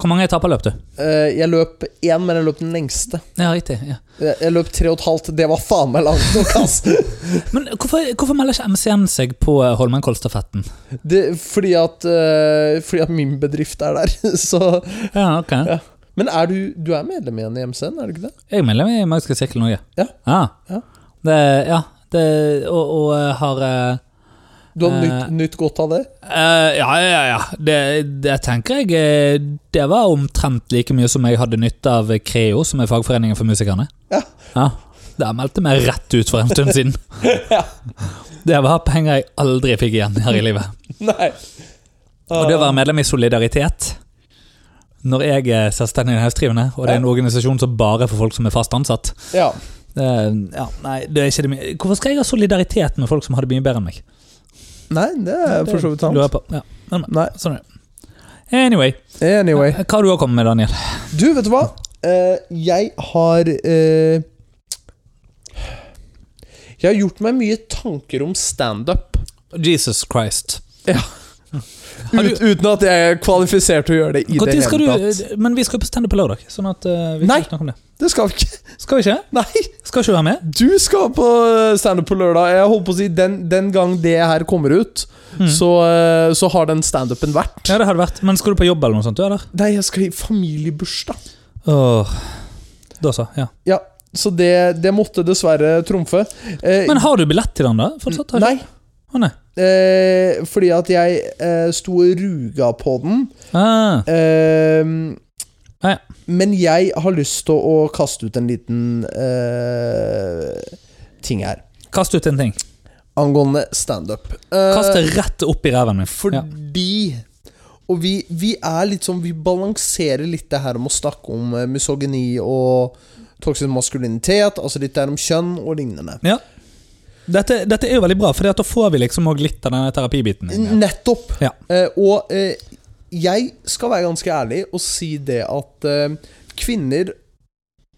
Speaker 1: Hvor mange etapper løp du?
Speaker 2: Eh, Jeg løp én, men jeg løp den lengste.
Speaker 1: Ja, riktig. Ja.
Speaker 2: Jeg jeg løp tre og et halvt. Det var faen meg langt nok, ass!
Speaker 1: Men hvorfor, hvorfor melder ikke MCN seg på eh, Holmenkollstafetten?
Speaker 2: Det, fordi, at, eh, fordi at min bedrift er der, så
Speaker 1: Ja, ok.
Speaker 2: Ja. Men er du, du er medlem igjen i MCN, er du ikke det?
Speaker 1: Jeg er medlem i Magiske Sirkel Norge.
Speaker 2: Ja.
Speaker 1: ja.
Speaker 2: Ja.
Speaker 1: Det, ja det, og, og eh, har eh,
Speaker 2: Du har
Speaker 1: Eh.
Speaker 2: nytt, nytt godt av det?
Speaker 1: Eh, ja, ja, ja. Det, det tenker jeg eh, Det var omtrent like mye som jeg hadde nytte av Creo, som er fagforeningen for musikerne.
Speaker 2: Ja.
Speaker 1: Der meldte meg rett ut for en stund siden.
Speaker 2: Ja.
Speaker 1: Det var penger jeg aldri fikk igjen her i livet.
Speaker 2: Nei.
Speaker 1: Og det å være medlem i Solidaritet når jeg er selvstendig næringsdrivende, og det er en organisasjon som bare er for folk som er fast ansatt
Speaker 2: Ja.
Speaker 1: det, ja, Nei, det er ikke det mye Hvorfor skal jeg ha solidaritet med folk som har det mye bedre enn meg?
Speaker 2: Nei, det er for så vidt
Speaker 1: Lurer
Speaker 2: sant.
Speaker 1: jeg på. Ja. Men,
Speaker 2: Nei.
Speaker 1: sånn er det. Anyway,
Speaker 2: Anyway.
Speaker 1: hva har du kommet med, Daniel?
Speaker 2: Du, vet du hva? Eh, jeg har eh, Jeg har gjort meg mye tanker om standup.
Speaker 1: Jesus Christ. Har du-
Speaker 2: Ut, uten at jeg er kvalifisert til å gjøre det i
Speaker 1: Hvor
Speaker 2: det
Speaker 1: tid skal
Speaker 2: hele tatt.
Speaker 1: du, men vi skal jo på standup på lørdag. Sånn at eh, vi
Speaker 2: Nei.
Speaker 1: skal snakke om det.
Speaker 2: Det skal vi ikke.
Speaker 1: Skal vi ikke?
Speaker 2: Nei!
Speaker 1: Skal ikke du være med?
Speaker 2: Du skal på eh, standup på lørdag. Jeg holdt på å si Den, den gang det her kommer ut, så, eh, så har den standupen vært.
Speaker 1: Mm. Ja, det hadde vært. Men skal du på jobb eller noe sånt? du, eller?
Speaker 2: Nei, jeg skal i familiebursdag.
Speaker 1: Åh. Da så, ja.
Speaker 2: Ja, så det, det måtte dessverre trumfe. Eh,
Speaker 1: Men har du billett til den, da? Fortsatt? Har du-
Speaker 2: nei,
Speaker 1: Å, nei.
Speaker 2: eh, fordi at jeg eh, sto og ruga på den.
Speaker 1: Ah,
Speaker 2: Eh,
Speaker 1: Ja, ja.
Speaker 2: Men jeg har lyst til å kaste ut en liten eh, ting her.
Speaker 1: kast ut en ting.
Speaker 2: Angående standup. Eh,
Speaker 1: Kast det rett opp i ræven min. Ja.
Speaker 2: Fordi Og vi, vi er litt sånn Vi balanserer litt det her om å snakke om eh, misogyni og toksisk maskulinitet, altså litt der om kjønn og lignende.
Speaker 1: ja. Dette, dette er jo veldig bra, for da får vi liksom òg litt av denne terapibiten.
Speaker 2: Mm.
Speaker 1: Ja.
Speaker 2: Nettopp.
Speaker 1: Ja.
Speaker 2: Eh, og eh, jeg skal være ganske ærlig og si det at eh, kvinner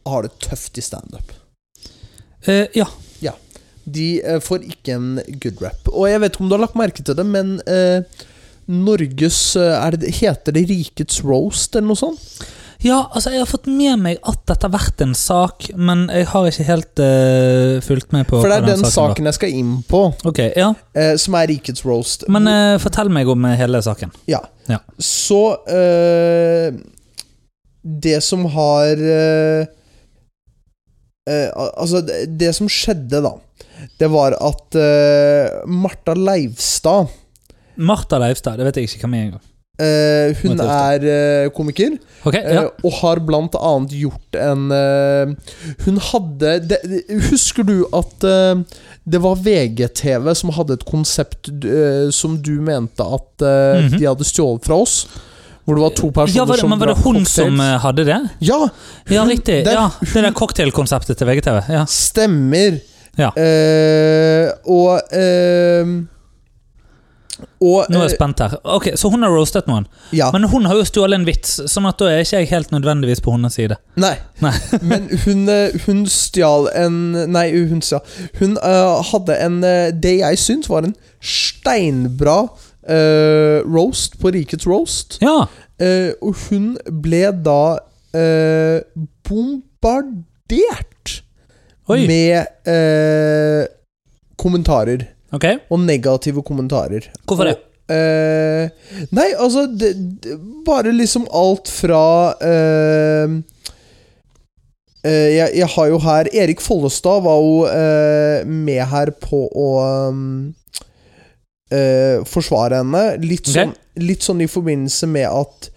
Speaker 2: har det tøft i standup.
Speaker 1: Eh, ja.
Speaker 2: De eh, får ikke en good rap. Og jeg vet ikke om du har lagt merke til det, men eh, Norges eh, er det, Heter det Rikets roast, eller noe sånt?
Speaker 1: Ja, altså jeg har fått med meg at dette har vært en sak, men jeg har ikke helt eh, fulgt med på
Speaker 2: For det
Speaker 1: hva
Speaker 2: er den
Speaker 1: var.
Speaker 2: saken jeg skal inn på.
Speaker 1: Ok, ja.
Speaker 2: eh, som er Rikets roast.
Speaker 1: Men eh, fortell meg om eh, hele saken.
Speaker 2: ja.
Speaker 1: ja.
Speaker 2: Så eh, Det som har eh, eh, al- Altså, det, det som skjedde, da, det var at eh, Marta Leivstad
Speaker 1: Martha Leivstad, det vet jeg ikke hvem er engang.
Speaker 2: eh,
Speaker 1: Må
Speaker 2: Hun
Speaker 1: jeg
Speaker 2: er eh, komiker,
Speaker 1: Ok,
Speaker 2: eh,
Speaker 1: ja.
Speaker 2: og har blant annet gjort en eh, Hun hadde det, det- Husker du at eh, det var VGTV som hadde et konsept eh, som du mente at eh,
Speaker 1: Mhm.
Speaker 2: de hadde stjålet fra oss? Hvor det var to personer
Speaker 1: ja var det,
Speaker 2: som
Speaker 1: men var det
Speaker 2: drakk
Speaker 1: hun
Speaker 2: cocktails.
Speaker 1: som eh, hadde det?
Speaker 2: Ja,
Speaker 1: Ja,
Speaker 2: Hun-
Speaker 1: riktig.
Speaker 2: det er
Speaker 1: ja, Det der cocktailkonseptet til VGTV. Ja.
Speaker 2: stemmer.
Speaker 1: Ja.
Speaker 2: Eh, og ehm, Og
Speaker 1: Nå er jeg
Speaker 2: eh,
Speaker 1: spent her. Ok, Så hun har roastet noen.
Speaker 2: Ja.
Speaker 1: Men hun har jo stjålet en vits, sånn at da er ikke jeg helt nødvendigvis på hennes side.
Speaker 2: nei.
Speaker 1: Nei.
Speaker 2: Men hun, eh, hun stjal en Nei, hun stjal Hun eh, hadde en eh, Det jeg syns var en steinbra eh, roast på Rikets roast.
Speaker 1: Ja,
Speaker 2: Eh, og hun ble da eh, bombardert
Speaker 1: oi.
Speaker 2: med eh, kommentarer.
Speaker 1: Ok,
Speaker 2: Og negative kommentarer.
Speaker 1: Hvorfor det?
Speaker 2: Og, eh, nei, altså det, det, Bare liksom alt fra eh, eh, jeg, jeg har jo her Erik Follestad var jo eh, med her på å um, eh, forsvare henne. Litt
Speaker 1: Ok.
Speaker 2: sånn, litt sånn i forbindelse med at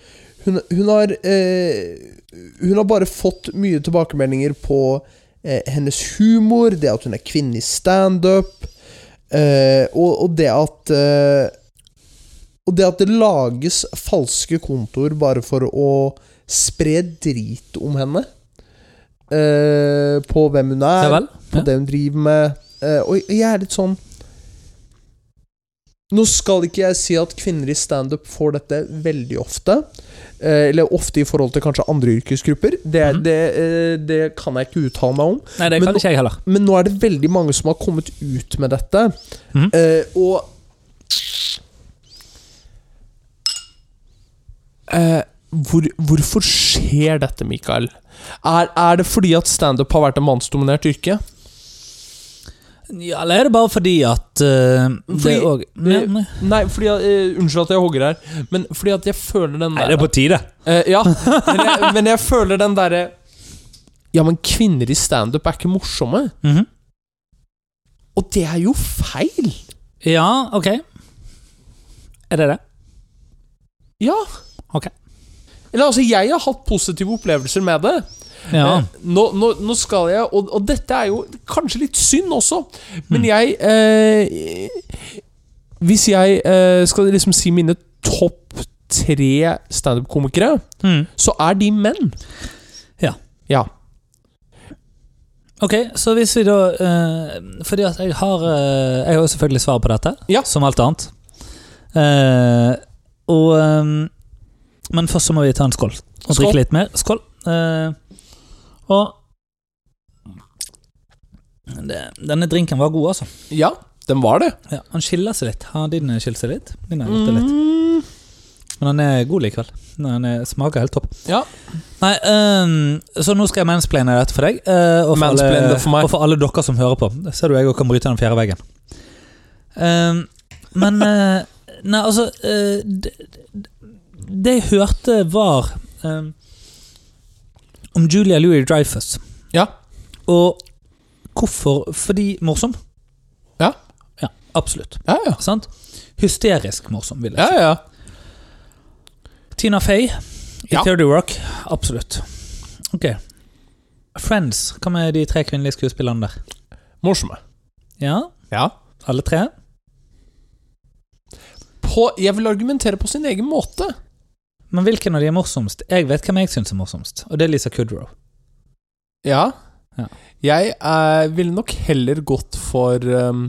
Speaker 2: hun, hun har eh, Hun har bare fått mye tilbakemeldinger på eh, hennes humor, det at hun er kvinne i standup. Eh, og, og det at eh, Og det at det lages falske kontoer bare for å spre drit om henne. Eh, på hvem hun
Speaker 1: ja
Speaker 2: er,
Speaker 1: vel.
Speaker 2: på
Speaker 1: Ja.
Speaker 2: det hun driver med. Eh, og jeg er litt sånn
Speaker 4: Nå skal ikke jeg si at kvinner i standup får dette veldig ofte. eh, Eller ofte i forhold til kanskje andre yrkesgrupper. Det,
Speaker 1: Mhm.
Speaker 4: det, eh, det kan jeg ikke uttale meg om.
Speaker 1: Nei, det
Speaker 4: Men
Speaker 1: kan
Speaker 4: nå-
Speaker 1: ikke jeg heller.
Speaker 4: Men nå er det veldig mange som har kommet ut med dette.
Speaker 2: Mm.
Speaker 1: Mhm.
Speaker 4: Eh, og
Speaker 2: Eh, hvor, hvorfor skjer dette, Mikael? Er, er det fordi at standup har vært et mannsdominert yrke?
Speaker 1: Ja, eller er det bare fordi at eh,
Speaker 2: Fordi-
Speaker 1: det òg nei, nei.
Speaker 2: Nei, fordi at, eh, Unnskyld at jeg hogger her, men fordi at jeg føler den
Speaker 1: nei,
Speaker 2: der
Speaker 1: det er på tide.
Speaker 2: Eh, Ja, men jeg, men jeg føler den derre Ja, men kvinner i standup er ikke morsomme.
Speaker 1: Mhm.
Speaker 2: Og det er jo feil!
Speaker 1: Ja, ok. Er det det?
Speaker 2: Ja.
Speaker 1: Ok.
Speaker 2: Eller altså, jeg har hatt positive opplevelser med det.
Speaker 1: Ja.
Speaker 2: Eh, Nå, nå, nå skal jeg og, og dette er jo kanskje litt synd også, men
Speaker 1: Hmm.
Speaker 2: jeg eh, Hvis jeg eh, skal liksom si mine topp tre standup-komikere,
Speaker 1: Mm.
Speaker 2: så er de menn.
Speaker 1: Ja.
Speaker 2: Ja.
Speaker 1: Ok, så hvis vi da eh, Fordi at jeg har eh, Jeg har jo selvfølgelig svar på dette,
Speaker 2: Ja.
Speaker 1: som alt annet. Eh, og eh, Men først så må vi ta en skål og
Speaker 2: Skål.
Speaker 1: drikke litt mer. Skål. Eh, og det, Denne drinken var god, altså.
Speaker 2: Ja, den var det.
Speaker 1: Ja, han skiller seg litt. Har din skilt seg litt? Min har gjort det litt.
Speaker 2: Mm.
Speaker 1: Men han er god likevel. Nei, Han er, smaker helt topp.
Speaker 2: Ja.
Speaker 1: Nei, ehm, så nå skal jeg mansplaine dette for deg. eh, og, for
Speaker 2: Mansplain
Speaker 1: alle,
Speaker 2: det for meg.
Speaker 1: og for alle dere som hører på. Da Ser du jeg også kan bryte den fjerde veggen. Ehm, men eh, Nei, altså eh, det, det- det jeg hørte, var ehm, om Julia Louis Dreyfus.
Speaker 2: Ja.
Speaker 1: Og hvorfor? Fordi morsom?
Speaker 2: Ja.
Speaker 1: Ja, Absolutt.
Speaker 2: Ja, ja.
Speaker 1: Sant? Hysterisk morsom, vil jeg si.
Speaker 2: ja, ja.
Speaker 1: Tina Fey i
Speaker 2: Ja.
Speaker 1: Theory Rock. Absolutt. Ok. Friends. Hva med de tre kvinnelige skuespillerne der?
Speaker 2: Morsomme.
Speaker 1: Ja,
Speaker 2: Ja.
Speaker 1: alle tre?
Speaker 2: På, jeg vil argumentere på sin egen måte.
Speaker 1: Men hvilken av de er morsomst? Jeg vet hvem jeg syns er morsomst, og det er Lisa Kudrow.
Speaker 2: Ja.
Speaker 1: Ja.
Speaker 2: Jeg eh, ville nok heller gått for um,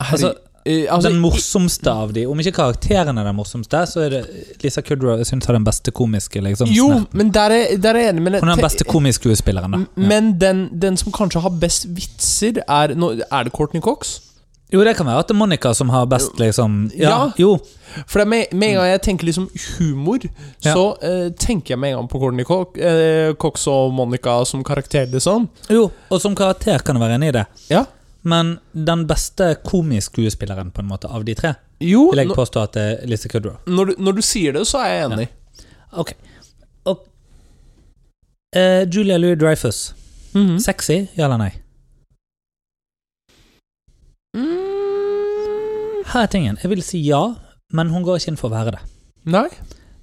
Speaker 2: herre-
Speaker 1: Altså,
Speaker 2: eh, altså,
Speaker 1: den
Speaker 2: i-
Speaker 1: morsomste av de. Om ikke karakteren er den morsomste, så er det Lisa Kudrow jeg synes er den beste komiske. liksom.
Speaker 2: Jo,
Speaker 1: snerten.
Speaker 2: men der er, der er jeg enig. Men,
Speaker 1: Hun er den beste komiske skuespilleren. da.
Speaker 2: m- men den, den som kanskje har best vitser, er nå, Er det Courtney Cox?
Speaker 1: Ja. Jo, det kan være at det er Monica som har best, liksom. Ja,
Speaker 2: Ja.
Speaker 1: Jo.
Speaker 2: For det er med, med en gang jeg tenker liksom humor,
Speaker 1: Mm. Ja.
Speaker 2: så eh, tenker jeg med en gang på Courtney Cox, eh, Cox og Monica som karakter, liksom.
Speaker 1: jo. Og som karakter kan jeg være enig i det.
Speaker 2: Ja.
Speaker 1: Men den beste komiske skuespilleren, på en måte, av de tre,
Speaker 2: Jo,
Speaker 1: vil jeg
Speaker 2: nå-
Speaker 1: påstå at det er Lisa Kudrow.
Speaker 2: når, du, når du sier det, så er jeg enig.
Speaker 1: Ok. Og, eh, Julia Louis Dreyfus.
Speaker 2: Mhm.
Speaker 1: Sexy, ja eller nei? Her er tingen. Jeg vil si ja, men hun går ikke inn for å være det.
Speaker 2: Nei.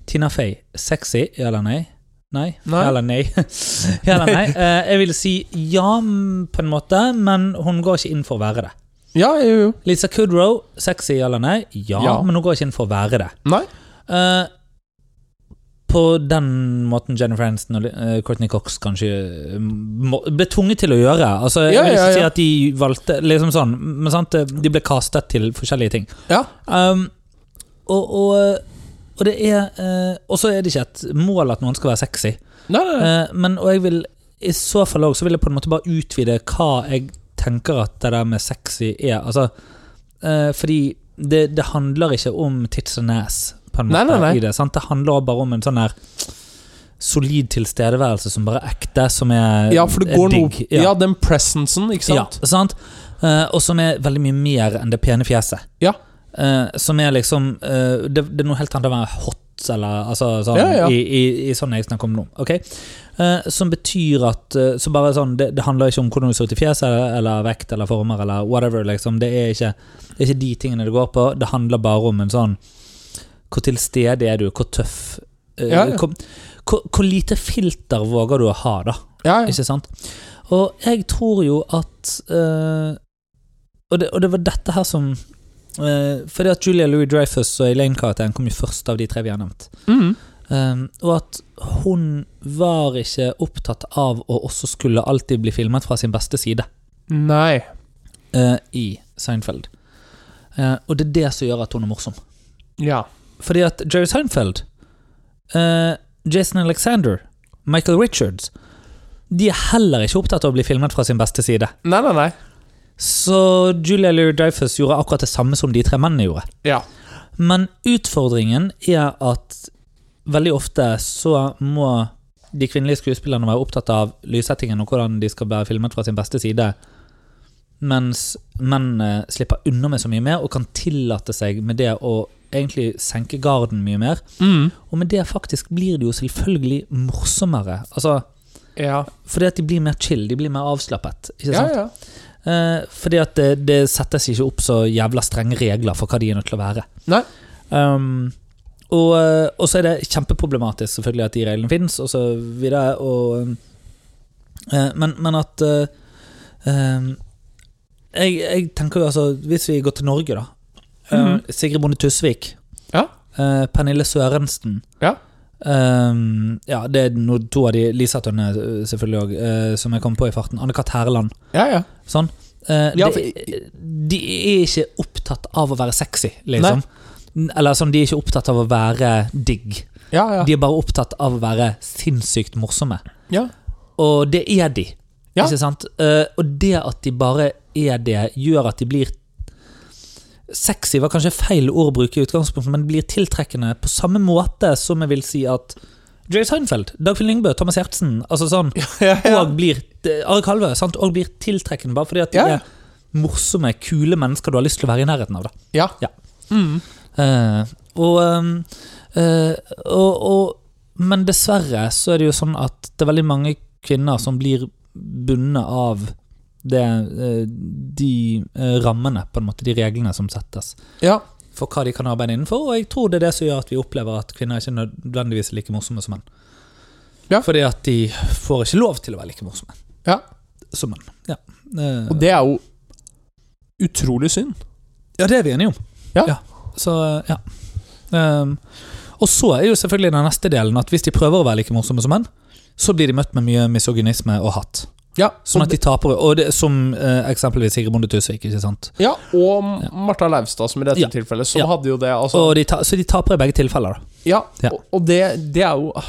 Speaker 1: Tina Fey. Sexy, ja eller nei? Nei.
Speaker 2: Nei.
Speaker 1: Ja eller nei? ja eller nei? Eh, jeg vil si ja, mm, på en måte, men hun går ikke inn for å være det.
Speaker 2: Ja, jo, jo.
Speaker 1: Lisa Kudrow. Sexy, ja eller nei? Ja,
Speaker 2: Ja.
Speaker 1: men hun går ikke inn for å være det.
Speaker 2: Nei.
Speaker 1: Eh, på den måten Jennifer Aniston og eh, Courtney Cox kanskje eh, må, ble tvunget til å gjøre. Altså, jeg
Speaker 2: Ja,
Speaker 1: vil ikke
Speaker 2: ja,
Speaker 1: si
Speaker 2: ja.
Speaker 1: at de valgte liksom sånn, men sant? eh, De ble castet til forskjellige ting.
Speaker 2: Ja.
Speaker 1: Um, og, og, og det er eh, Og så er det ikke et mål at noen skal være sexy.
Speaker 2: Nei, nei, nei.
Speaker 1: Eh, men og jeg vil i så fall også, så vil jeg på en måte bare utvide hva jeg tenker at det der med sexy er. Altså, eh, fordi det, det handler ikke om tits and ass på en måte,
Speaker 2: Nei, nei, nei.
Speaker 1: i det. Sant? Det handler bare om en sånn her solid tilstedeværelse som bare er ekte, som er,
Speaker 2: Ja, for det
Speaker 1: er
Speaker 2: går noe
Speaker 1: digg.
Speaker 2: Eh, Ja,
Speaker 1: Ja,
Speaker 2: den presencen, ikke sant?
Speaker 1: ja, sant? Eh, og som er veldig mye mer enn det pene fjeset.
Speaker 2: Ja.
Speaker 1: Eh, som er liksom eh, det, det er noe helt annet å være hot eller altså, sånn,
Speaker 2: Ja, ja.
Speaker 1: I, i, i sånn jeg snakker om nå. ok? Eh, som betyr at eh, så bare sånn, det, det handler ikke om hvordan du ser ut i fjeset, eller, eller vekt eller former eller whatever. liksom. Det er, ikke, det er ikke de tingene det går på. Det handler bare om en sånn Hvor til stede er du? Hvor tøff eh,
Speaker 2: Ja, ja.
Speaker 1: Hvor, hvor, hvor lite filter våger du å ha, da?
Speaker 2: Ja, ja.
Speaker 1: Ikke sant? Og jeg tror jo at eh, og, det, og det var dette her som eh, Fordi at Julia Louis Dreyfus og Elaine-karakteren kom jo først av de tre vi har nevnt.
Speaker 2: Mhm.
Speaker 1: Um, og at hun var ikke opptatt av å også skulle alltid bli filmet fra sin beste side
Speaker 2: Nei.
Speaker 1: eh, i Seinfeld. Eh, og det er det som gjør at hun er morsom.
Speaker 2: Ja.
Speaker 1: Fordi at Jerry Seinfeld, eh, Jason Alexander, Michael Richards De er heller ikke opptatt av å bli filmet fra sin beste side.
Speaker 2: Nei, nei, nei.
Speaker 1: Så Julia Louis-Dreyfus gjorde akkurat det samme som de tre mennene gjorde.
Speaker 2: Ja.
Speaker 1: Men utfordringen er at veldig ofte så må de kvinnelige skuespillerne være opptatt av lyssettingen og hvordan de skal være filmet fra sin beste side, mens mennene slipper unna med så mye mer og kan tillate seg med det å egentlig senke garden mye mer.
Speaker 2: Mm.
Speaker 1: Og med det faktisk blir det jo selvfølgelig morsommere. Altså,
Speaker 2: Ja.
Speaker 1: fordi at de blir mer chill, de blir mer avslappet. Ikke sant?
Speaker 2: ja, ja.
Speaker 1: Eh, fordi at det, det settes ikke opp så jævla strenge regler for hva de er nødt til å være.
Speaker 2: Nei.
Speaker 1: Um, og, eh, og så er det kjempeproblematisk selvfølgelig at de reglene finnes, og så videre. Og, eh, men, men at eh, um, jeg, jeg tenker jo altså Hvis vi går til Norge, da. eh,
Speaker 2: Mhm.
Speaker 1: Sigrid Bonde Tusvik.
Speaker 2: Ja.
Speaker 1: Eh, Pernille Sørensen.
Speaker 2: Ja.
Speaker 1: Um, ja, det er no, to av de. Lisa Tønne, eh, selvfølgelig òg, som jeg kom på i farten. Anne-Kat. Herland.
Speaker 2: Ja, ja.
Speaker 1: Sånn. Eh,
Speaker 2: Ja,
Speaker 1: de, de er ikke opptatt av å være sexy, liksom. Eller sånn, de er ikke opptatt av å være digg.
Speaker 2: Ja, ja.
Speaker 1: De er bare opptatt av å være sinnssykt morsomme.
Speaker 2: ja.
Speaker 1: Og det er de.
Speaker 2: Ja.
Speaker 1: Ikke sant? Eh, og det at de bare er det, gjør at de blir Sexy var kanskje feil ord å bruke i utgangspunktet, men blir tiltrekkende på samme måte som jeg vil si at Jay Seinfeld, Dagfinn Lyngbø, Thomas Giertsen altså sånn,
Speaker 2: ja, ja.
Speaker 1: og blir Ari Kalve, sant? Og blir tiltrekkende bare fordi at de
Speaker 2: Ja.
Speaker 1: er morsomme, kule mennesker du har lyst til å være i nærheten av. Da.
Speaker 2: ja.
Speaker 1: Ja.
Speaker 2: Mm.
Speaker 1: Eh, og, ehm, eh, og, og Men dessverre så er det jo sånn at det er veldig mange kvinner som blir bundet av det, eh, de eh, rammene, på en måte, de reglene som settes
Speaker 2: ja.
Speaker 1: for hva de kan arbeide innenfor, og jeg tror det er det som gjør at vi opplever at kvinner ikke nødvendigvis er like morsomme som menn.
Speaker 2: Ja.
Speaker 1: Fordi at de får ikke lov til å være like morsomme
Speaker 2: Ja.
Speaker 1: som menn. Ja, Eh,
Speaker 2: Og det er jo utrolig synd.
Speaker 1: ja det er vi enige om.
Speaker 2: Ja.
Speaker 1: Så, eh, ja. Ehm, og så er jo selvfølgelig den neste delen at hvis de prøver å være like morsomme som menn, så blir de møtt med mye misogynisme og hatt.
Speaker 2: Ja,
Speaker 1: Sånn
Speaker 2: og
Speaker 1: at de taper, og det, Som eh, eksempelvis Sigrid Bonde Tusvik. ikke sant?
Speaker 2: Ja, og Martha Leivstad, som i dette
Speaker 1: Ja.
Speaker 2: tilfellet, som
Speaker 1: Ja.
Speaker 2: hadde jo det. Altså,
Speaker 1: Og de ta, så de taper i begge tilfeller. da
Speaker 2: ja,
Speaker 1: Ja.
Speaker 2: Og, og det, det er jo ah.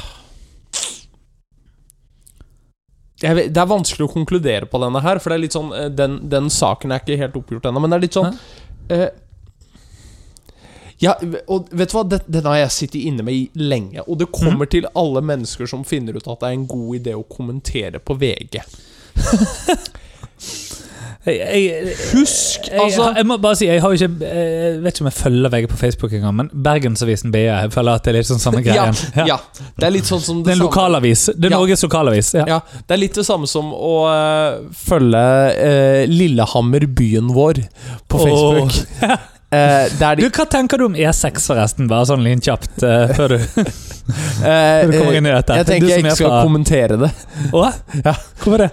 Speaker 2: jeg vet, Det er vanskelig å konkludere på denne her, for det er litt sånn eh, Den, den saken er ikke helt oppgjort ennå, men det er litt sånn eh, ja, og vet du hva, det, Den har jeg sittet inne med i lenge. Og det kommer til alle mennesker som finner ut at det er en god idé å kommentere på VG.
Speaker 1: Jeg, jeg,
Speaker 2: Husk!
Speaker 1: Jeg,
Speaker 2: altså,
Speaker 1: har- jeg må bare si, jeg har jo ikke Jeg vet ikke om jeg følger VG på Facebook engang, men Bergensavisen BA. Jeg føler at det er litt sånn samme greien.
Speaker 2: Ja, ja. Det er litt sånn som
Speaker 1: Det er en
Speaker 2: samme-
Speaker 1: lokalavis. Det er
Speaker 2: Ja.
Speaker 1: Norges lokalavis. Ja.
Speaker 2: Ja, Det er litt det samme som å eh, følge eh, Lillehammer, byen vår, på Facebook. Eh, det er de,
Speaker 1: Du, Hva tenker du om E6, forresten? Bare sånn lynkjapt eh, før du
Speaker 2: eh,
Speaker 1: før du kommer
Speaker 2: eh,
Speaker 1: inn i dette.
Speaker 2: jeg
Speaker 1: Du
Speaker 2: tenker jeg
Speaker 1: som er
Speaker 2: ikke skal
Speaker 1: fra-
Speaker 2: kommentere det.
Speaker 1: Å?
Speaker 2: Ja.
Speaker 1: Hvorfor det?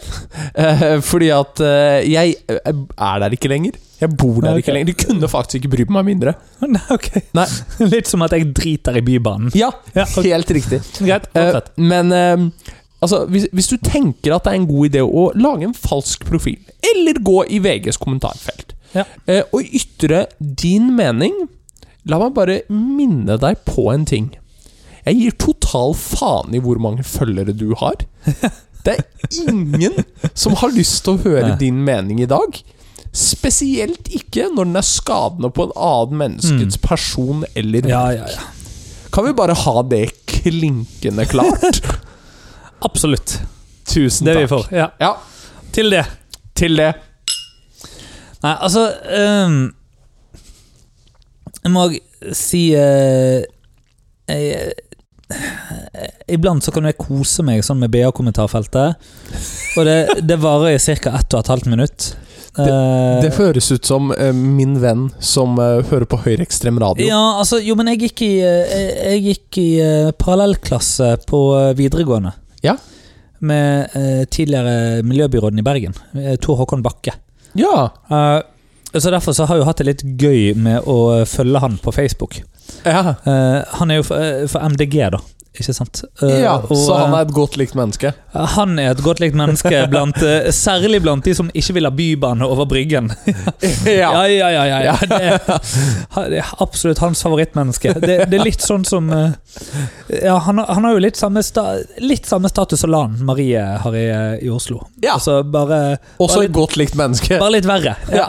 Speaker 2: Eh, fordi at eh, jeg eh, er der ikke lenger. Jeg bor der
Speaker 1: Nei, ok.
Speaker 2: ikke lenger. Du kunne faktisk ikke bry meg mindre.
Speaker 1: Nei, ok.
Speaker 2: Nei.
Speaker 1: Litt som at jeg driter i Bybanen.
Speaker 2: Ja,
Speaker 1: Ja, ok.
Speaker 2: helt riktig.
Speaker 1: Greit.
Speaker 2: Eh,
Speaker 1: Fortsett.
Speaker 2: men eh, altså, hvis, hvis du tenker at det er en god idé å lage en falsk profil, eller gå i VGs kommentarfelt,
Speaker 1: Ja.
Speaker 2: eh, og ytre din mening, la meg bare minne deg på en ting. Jeg gir total faen i hvor mange følgere du har. Det er ingen som har lyst til å høre
Speaker 1: Nei.
Speaker 2: din mening i dag. Spesielt ikke når den er skadende på en annen menneskets person eller
Speaker 1: Mm. Ja, ja, ja.
Speaker 2: kan vi bare ha det klinkende klart?
Speaker 1: Absolutt.
Speaker 2: Tusen
Speaker 1: Det er vi
Speaker 2: takk.
Speaker 1: for. Ja.
Speaker 2: Ja,
Speaker 1: Til det.
Speaker 2: til det.
Speaker 1: Nei, altså ehm, Jeg må si eh, jeg, eh, Iblant så kan jeg kose meg sånn med BA-kommentarfeltet. Og det, det varer i ca. ett og et halvt minutt. Eh,
Speaker 2: Det høres ut som eh, min venn som eh, hører på høyreekstrem radio.
Speaker 1: ja, altså, jo, men jeg gikk i, eh, jeg, jeg gikk i eh, parallellklasse på eh, videregående.
Speaker 2: Ja.
Speaker 1: Med eh, tidligere miljøbyråden i Bergen, eh, Tor Håkon Bakke.
Speaker 2: Ja.
Speaker 1: Eh, så Derfor så har jeg jo hatt det litt gøy med å følge eh, han på Facebook.
Speaker 2: Ja.
Speaker 1: Eh, han er jo for, eh, for MDG, da. ikke sant? Eh,
Speaker 2: Ja,
Speaker 1: og,
Speaker 2: så han er et godt likt menneske.
Speaker 1: eh, han er et godt likt menneske, blant, eh, særlig blant de som ikke vil ha bybane over Bryggen. Ja, ja, ja. ja, ja. Det, er, det er absolutt hans favorittmenneske. Det, det er litt sånn som eh, Ja, han, har- han har jo litt samme, sta, litt samme status som Lan Marie har i, eh, i Oslo.
Speaker 2: Ja.
Speaker 1: Altså bare,
Speaker 2: Også
Speaker 1: bare,
Speaker 2: et
Speaker 1: litt,
Speaker 2: godt likt menneske.
Speaker 1: bare litt verre.
Speaker 2: Ja.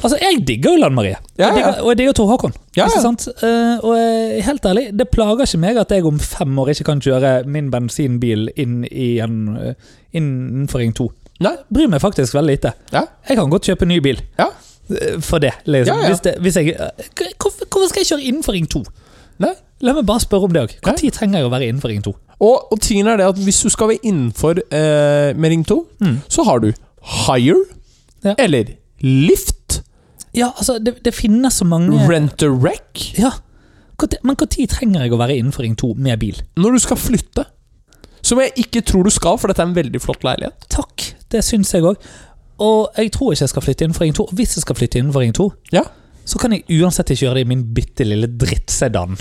Speaker 1: Altså, jeg digger jo Lan Marie.
Speaker 2: Ja,
Speaker 1: Jeg
Speaker 2: ja.
Speaker 1: digger, og jeg digger Tor Håkon.
Speaker 2: Ja, ja.
Speaker 1: Ikke sant? Eh, og eh, helt ærlig, det plager ikke meg at jeg om fem år ikke kan kjøre min bensinbil inn i en, eh, innenfor Ring 2.
Speaker 2: Nei.
Speaker 1: Bryr meg faktisk veldig lite.
Speaker 2: Ja.
Speaker 1: Jeg kan godt kjøpe ny bil.
Speaker 2: Ja.
Speaker 1: Eh, For det, liksom.
Speaker 2: Ja, ja.
Speaker 1: Hvis det hvis jeg, eh, hvorfor, hvorfor skal jeg kjøre innenfor Ring 2?
Speaker 2: Nei.
Speaker 1: La meg bare spørre om det òg.
Speaker 2: Ja.
Speaker 1: Når trenger jeg å være innenfor Ring 2?
Speaker 2: Og, og tingen er det at hvis du skal være innenfor eh, med Ring 2,
Speaker 1: Mm.
Speaker 2: så har du Hire
Speaker 1: Ja.
Speaker 2: eller Lift,
Speaker 1: Ja, altså, det, det finnes så mange
Speaker 2: Rent a Wreck
Speaker 1: Ja. Hvor ti- Men når trenger jeg å være innenfor Ring 2 med bil?
Speaker 2: når du skal flytte. Som jeg ikke tror du skal, for dette er en veldig flott leilighet.
Speaker 1: Takk, det syns jeg òg. Og jeg tror ikke jeg skal flytte innenfor Ring 2. Og hvis jeg skal flytte innenfor Ring 2,
Speaker 2: Ja.
Speaker 1: så kan jeg uansett ikke gjøre det i min bitte lille drittsedan.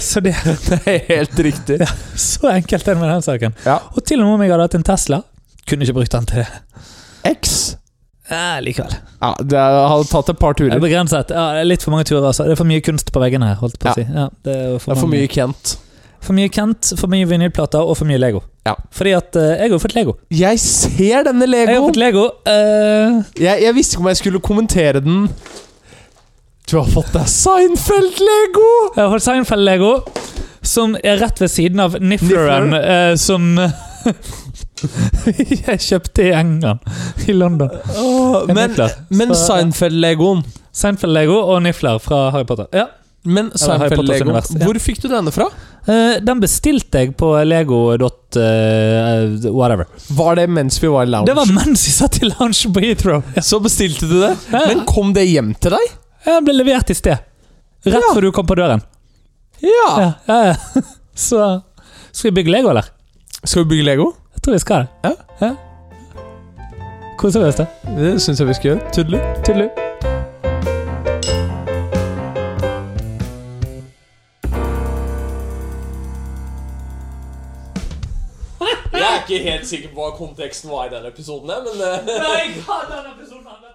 Speaker 1: så det er
Speaker 2: Det er helt riktig.
Speaker 1: så enkelt den med den saken.
Speaker 2: Ja.
Speaker 1: Og til og med om jeg hadde hatt en Tesla, kunne ikke brukt den til det.
Speaker 2: X.
Speaker 1: Eh, likevel.
Speaker 2: Ja, det er, har tatt et par
Speaker 1: Det er
Speaker 2: turer.
Speaker 1: begrenset. Ja, det er litt for mange turer, altså. Det er for mye kunst på veggene her, holdt på å si. Ja, det er jo
Speaker 2: Det er for mye Kent.
Speaker 1: for mye Kent, for mye vinylplater og for mye Lego.
Speaker 2: Ja.
Speaker 1: Fordi at eh, jeg har jo fått Lego.
Speaker 2: Jeg ser denne
Speaker 1: Jeg har
Speaker 2: Lego.
Speaker 1: fått Lego. eh,
Speaker 2: Jeg, jeg visste ikke om jeg skulle kommentere den. Du har fått deg Seinfeld-Lego!
Speaker 1: jeg har fått Seinfeld-Lego, som er rett ved siden av Niffleren, eh, som jeg kjøpte i England, i London.
Speaker 2: Åh,
Speaker 1: Jeg
Speaker 2: men
Speaker 1: Niffler.
Speaker 2: men
Speaker 1: Så-
Speaker 2: Seinfeld-Legoen
Speaker 1: Seinfeld-Lego og Niffler fra Harry Potter. Ja. Harry
Speaker 2: Men
Speaker 1: Potters
Speaker 2: Seinfeld-Lego,
Speaker 1: univers, ja.
Speaker 2: hvor fikk du denne fra?
Speaker 1: Eh, den bestilte jeg på lego. dot, eh, whatever.
Speaker 2: Var det mens vi var i lounge?
Speaker 1: Det var mens jeg satt i lounge på Heathrow.
Speaker 2: Så bestilte du det?
Speaker 1: Ja.
Speaker 2: Men kom det hjem til deg?
Speaker 1: Jeg ble levert i sted. Rett
Speaker 2: Ja. Ah.
Speaker 1: før du kom på døren.
Speaker 2: Ja!
Speaker 1: Ja, ja, ja. Så skal vi bygge Lego, eller?
Speaker 2: Skal vi bygge Lego?
Speaker 1: Jeg tror vi skal det.
Speaker 2: Ja.
Speaker 1: Koser vi oss, da.
Speaker 2: Det syns jeg vi skal gjøre. Tudelu.
Speaker 1: Tudelu.
Speaker 2: Jeg er ikke helt sikker på hva konteksten var i denne episoden, men eh,
Speaker 1: Nei, jeg har den episoden her.